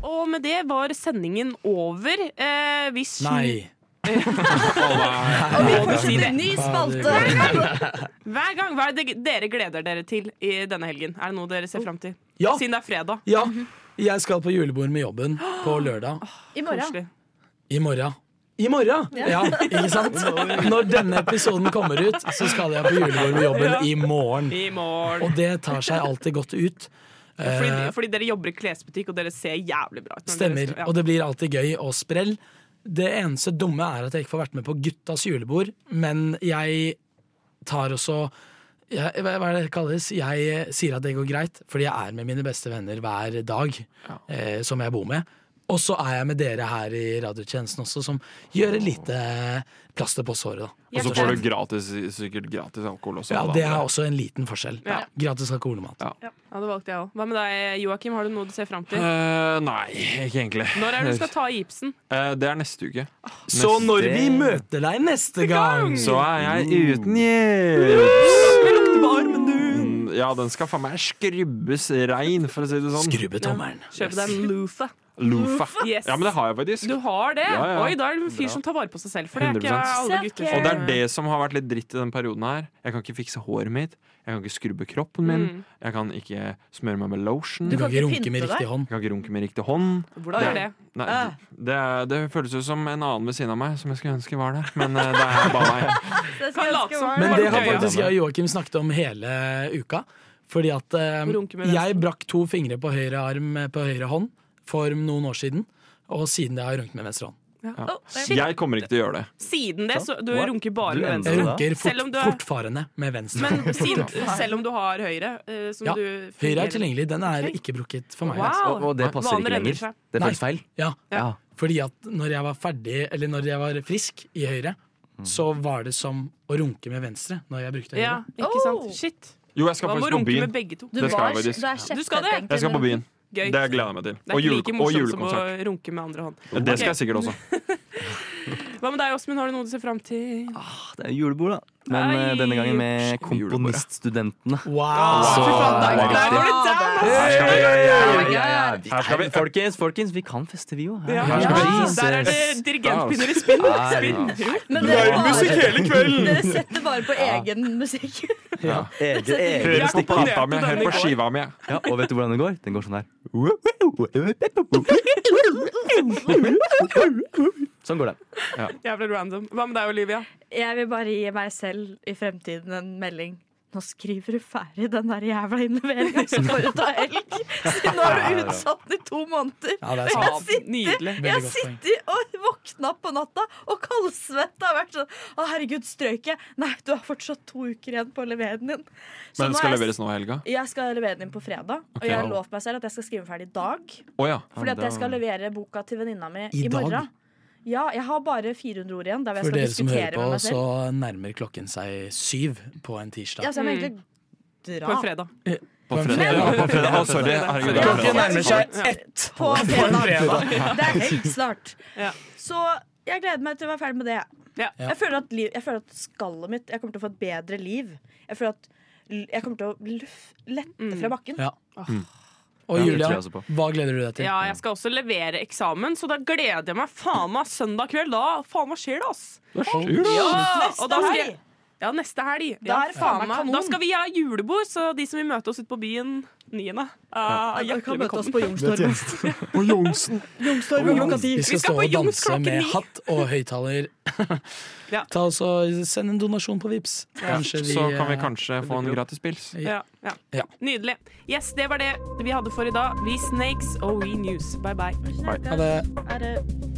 [SPEAKER 2] Og med det var sendingen over. Eh, vi slu-
[SPEAKER 3] Nei.
[SPEAKER 2] Og vi fortsetter.
[SPEAKER 4] Ny spalte.
[SPEAKER 2] Hver gang. Hver gang. Hva er det dere gleder dere til i denne helgen? Er det noe dere ser fram til?
[SPEAKER 3] Ja.
[SPEAKER 2] Siden det er fredag.
[SPEAKER 3] Ja, jeg skal på julebord med jobben på lørdag.
[SPEAKER 4] I morgen.
[SPEAKER 2] Koselig.
[SPEAKER 3] I morgen. I morgen!
[SPEAKER 4] Ja.
[SPEAKER 3] Ja, ikke sant? Når denne episoden kommer ut, så skal jeg på julebord med jobben
[SPEAKER 2] Ja.
[SPEAKER 3] i morgen.
[SPEAKER 2] I morgen.
[SPEAKER 3] Og det tar seg alltid godt ut.
[SPEAKER 2] Fordi,
[SPEAKER 3] Eh,
[SPEAKER 2] fordi dere jobber i klesbutikk, og dere ser jævlig bra ut. når
[SPEAKER 3] Stemmer.
[SPEAKER 2] dere skal- ja.
[SPEAKER 3] Og det blir alltid gøy og sprell. Det eneste dumme er at jeg ikke får vært med på guttas julebord, men jeg tar også jeg, hva hva er det det kalles? Jeg eh, sier at det går greit, fordi jeg er med mine beste venner hver dag eh, som jeg bor med. Og så er jeg med dere her i radiotjenesten også, som gjør et lite plaster på såret. da. Altså,
[SPEAKER 1] Og så får du gratis, sikkert gratis alkohol også.
[SPEAKER 3] Ja,
[SPEAKER 1] alle
[SPEAKER 3] det
[SPEAKER 1] andre.
[SPEAKER 3] er også en liten forskjell.
[SPEAKER 2] Ja.
[SPEAKER 3] Gratis alkohol og mat.
[SPEAKER 2] Ja. ja, det valgte jeg òg. Hva med deg, Joakim? Har du noe du ser fram til?
[SPEAKER 1] Eh, nei, ikke egentlig.
[SPEAKER 2] Når er det du skal ta i gipsen?
[SPEAKER 1] Eh, det er neste uke.
[SPEAKER 3] Så
[SPEAKER 1] Neste-
[SPEAKER 3] når vi møter deg neste gang
[SPEAKER 1] Så er jeg uten hjelp. Mm, Ja, den skal faen meg skrubbes rein, for å si det sånn.
[SPEAKER 3] Skrubbe tommelen.
[SPEAKER 2] Kjøp deg en lofa.
[SPEAKER 1] Lofa.
[SPEAKER 2] Yes.
[SPEAKER 1] Ja, men det har jeg faktisk.
[SPEAKER 2] Du har det?
[SPEAKER 1] Ja, ja.
[SPEAKER 2] Oi, da er du en fyr som tar vare på seg selv. For det er ikke
[SPEAKER 1] 100%.
[SPEAKER 2] alle gutter som
[SPEAKER 1] Og det er det som har vært litt dritt i den perioden her. Jeg kan ikke fikse håret mitt. Jeg kan ikke skrubbe kroppen min.
[SPEAKER 2] Mm.
[SPEAKER 1] Jeg kan ikke smøre meg med lotion.
[SPEAKER 3] Du kan Du kan ikke ikke runke med pynte riktig deg? hånd.
[SPEAKER 1] Jeg kan ikke runke med riktig hånd.
[SPEAKER 2] Hvordan gjør det?
[SPEAKER 1] Nei,
[SPEAKER 2] Ah.
[SPEAKER 1] det, er- det føles ut som en annen ved siden av meg som jeg skulle ønske var der, men eh, det er bare meg.
[SPEAKER 2] Kan late som.
[SPEAKER 3] Men det har
[SPEAKER 1] Ja, ja.
[SPEAKER 3] faktisk jeg og Joakim snakket om hele uka. Fordi at eh,
[SPEAKER 2] Runke med
[SPEAKER 3] jeg brakk to fingre på høyre arm eh, på høyre hånd for noen år siden. Og siden det har jeg runket med venstre hånd.
[SPEAKER 2] Ja.
[SPEAKER 1] Ja. Jeg kommer ikke til å gjøre det.
[SPEAKER 2] Siden det, så du
[SPEAKER 3] What?
[SPEAKER 2] runker bare
[SPEAKER 3] Jeg
[SPEAKER 2] med
[SPEAKER 3] runker
[SPEAKER 2] venstre. Selv om
[SPEAKER 3] fort,
[SPEAKER 2] du er,
[SPEAKER 3] fortfarende med venstre.
[SPEAKER 2] men
[SPEAKER 3] hånd.
[SPEAKER 2] siden, selv om du har høyre, eh, som
[SPEAKER 3] Ja,
[SPEAKER 2] du
[SPEAKER 3] høyre er
[SPEAKER 2] fungerer-
[SPEAKER 3] tilgjengelig. Den er ikke brukket for meg.
[SPEAKER 2] Wow.
[SPEAKER 5] Og- og det passer
[SPEAKER 2] Vaner
[SPEAKER 5] ikke
[SPEAKER 2] endrer
[SPEAKER 5] lenger.
[SPEAKER 2] seg.
[SPEAKER 5] Det
[SPEAKER 3] Nei.
[SPEAKER 5] føles feil.
[SPEAKER 3] Ja.
[SPEAKER 5] Ja.
[SPEAKER 3] Fordi at når jeg var ferdig, eller når jeg var frisk i høyre,
[SPEAKER 5] Mm.
[SPEAKER 3] så var det som å runke med venstre når jeg brukte høyre.
[SPEAKER 2] Ja, ikke sant? Shit.
[SPEAKER 1] Jo, jeg skal
[SPEAKER 2] Hva med
[SPEAKER 1] faktisk på
[SPEAKER 2] runke
[SPEAKER 1] byen.
[SPEAKER 2] med begge to?
[SPEAKER 1] Det skal jeg faktisk.
[SPEAKER 2] Du skal det?
[SPEAKER 1] Jeg skal på byen.
[SPEAKER 2] Gøy.
[SPEAKER 1] Det gleder jeg meg til.
[SPEAKER 2] Det er
[SPEAKER 1] Og
[SPEAKER 2] ikke
[SPEAKER 1] jule-
[SPEAKER 2] like
[SPEAKER 1] og
[SPEAKER 2] morsomt som å
[SPEAKER 1] julekonsert.
[SPEAKER 2] runke med andre hånd.
[SPEAKER 1] Det skal jeg
[SPEAKER 2] Ok.
[SPEAKER 1] sikkert også.
[SPEAKER 2] Hva med deg, Åsmund? Har du noe du ser fram til?
[SPEAKER 5] Ah, Det er julebord, da. Men eh, denne gangen med komponiststudentene.
[SPEAKER 3] Ah,
[SPEAKER 5] Så
[SPEAKER 2] Fy faen,
[SPEAKER 5] er det
[SPEAKER 2] der- der
[SPEAKER 5] viktig.
[SPEAKER 2] var det down, ass.
[SPEAKER 5] Her skal
[SPEAKER 2] Ja, ja, ja,
[SPEAKER 5] vi-
[SPEAKER 2] ja,
[SPEAKER 5] Ja, ja,
[SPEAKER 2] ja.
[SPEAKER 5] vi- Folkens, folkens, vi kan feste, vi òg.
[SPEAKER 2] Ja. Der er det dirigentpinner i spinn. Spinn.
[SPEAKER 4] Men
[SPEAKER 5] Det er
[SPEAKER 4] dere bare-
[SPEAKER 5] musikk hele kvelden.
[SPEAKER 4] Dere setter bare på egen musikk.
[SPEAKER 5] Ja. Egen,
[SPEAKER 4] Jeg
[SPEAKER 5] egen.
[SPEAKER 1] Hører på
[SPEAKER 5] stikkord.
[SPEAKER 1] plata mi, hører på skiva mi.
[SPEAKER 5] Ja, og vet du hvordan det går? Den går sånn her. Sånn går det.
[SPEAKER 2] Jævlig random. Hva med deg, Olivia?
[SPEAKER 4] Jeg vil bare gi meg selv i fremtiden en melding.
[SPEAKER 8] Nå skriver du ferdig den der jævla innleveringen, så får du ta helg! Så nå har du utsatt den i to måneder!
[SPEAKER 4] Ja, det
[SPEAKER 8] og
[SPEAKER 4] er
[SPEAKER 8] jeg
[SPEAKER 4] sant.
[SPEAKER 8] sitter,
[SPEAKER 4] Nydelig.
[SPEAKER 8] Jeg
[SPEAKER 4] Veldig godt poeng.
[SPEAKER 8] sitter
[SPEAKER 4] og våkna på natta og kaldsvetta har vært sånn Å, herregud, strøyk jeg? Nei, du har fortsatt to uker igjen på å levere den inn. Så
[SPEAKER 1] Men den
[SPEAKER 4] nå
[SPEAKER 1] skal
[SPEAKER 4] er jeg-
[SPEAKER 1] leveres nå i helga?
[SPEAKER 4] Jeg skal levere den inn på fredag.
[SPEAKER 1] Ok.
[SPEAKER 4] Og jeg har lovt meg selv at jeg skal skrive den ferdig i dag.
[SPEAKER 1] Å ja.
[SPEAKER 4] Fordi at jeg skal levere boka til venninna mi
[SPEAKER 3] I
[SPEAKER 4] i,
[SPEAKER 3] dag?
[SPEAKER 4] morgen. Ja, jeg har bare 400 ord igjen. Der hvor
[SPEAKER 3] For dere
[SPEAKER 4] jeg skal
[SPEAKER 3] som hører
[SPEAKER 4] diskutere
[SPEAKER 3] på,
[SPEAKER 4] med meg
[SPEAKER 3] så
[SPEAKER 4] selv.
[SPEAKER 3] nærmer klokken seg syv på en tirsdag.
[SPEAKER 4] Ja, så jeg må egentlig dra.
[SPEAKER 2] På en fredag.
[SPEAKER 3] Eh,
[SPEAKER 1] På en fredag. Ja, på en fredag. Å, sorry. Herregud, det er
[SPEAKER 3] Klokken
[SPEAKER 1] fredag.
[SPEAKER 3] nærmer seg ett
[SPEAKER 4] På fredag. Det er
[SPEAKER 3] helg.
[SPEAKER 4] helt snart. Så jeg gleder meg til å være ferdig med det. Jeg, føler at liv, jeg føler at skallet mitt Jeg kommer til å få et bedre liv. Jeg føler at l- jeg kommer til å luff, lette fra bakken.
[SPEAKER 3] Ja.
[SPEAKER 4] Åh.
[SPEAKER 3] Mm. Og
[SPEAKER 5] Ja, det
[SPEAKER 3] Julia,
[SPEAKER 5] tror jeg også på.
[SPEAKER 3] hva gleder du deg til?
[SPEAKER 2] Ja, jeg skal også levere eksamen, så da gleder jeg meg faen meg søndag kveld. Da faen meg skjer det, ass!
[SPEAKER 3] Det
[SPEAKER 2] Ja,
[SPEAKER 3] skjer, da.
[SPEAKER 2] og da skal
[SPEAKER 4] helg.
[SPEAKER 2] jeg- Ja, neste helg.
[SPEAKER 4] Da
[SPEAKER 2] Ja,
[SPEAKER 4] er det faen meg kanon.
[SPEAKER 2] Da skal vi ha julebord, så de som vil møte oss ute på byen 9. Uh,
[SPEAKER 4] Ja, dere
[SPEAKER 2] hjertelig
[SPEAKER 4] kan møte oss
[SPEAKER 2] velkommen.
[SPEAKER 4] på Youngstorget.
[SPEAKER 10] På Youngsen.
[SPEAKER 4] Youngstorget klokka ti.
[SPEAKER 3] Vi skal stå og danse med hatt og høyttaler.
[SPEAKER 2] Ja.
[SPEAKER 3] Ta oss og Send en donasjon på Vips
[SPEAKER 1] Ja.
[SPEAKER 3] Kanskje vi,
[SPEAKER 1] Så kan vi
[SPEAKER 3] eh,
[SPEAKER 1] kanskje få en gratis pils.
[SPEAKER 2] Ja, ja.
[SPEAKER 3] Ja.
[SPEAKER 2] Nydelig. Yes, det var det vi hadde for i dag. Vi Snakes og We News. Bye, bye.
[SPEAKER 1] Bye.
[SPEAKER 3] Ha det.
[SPEAKER 4] Er det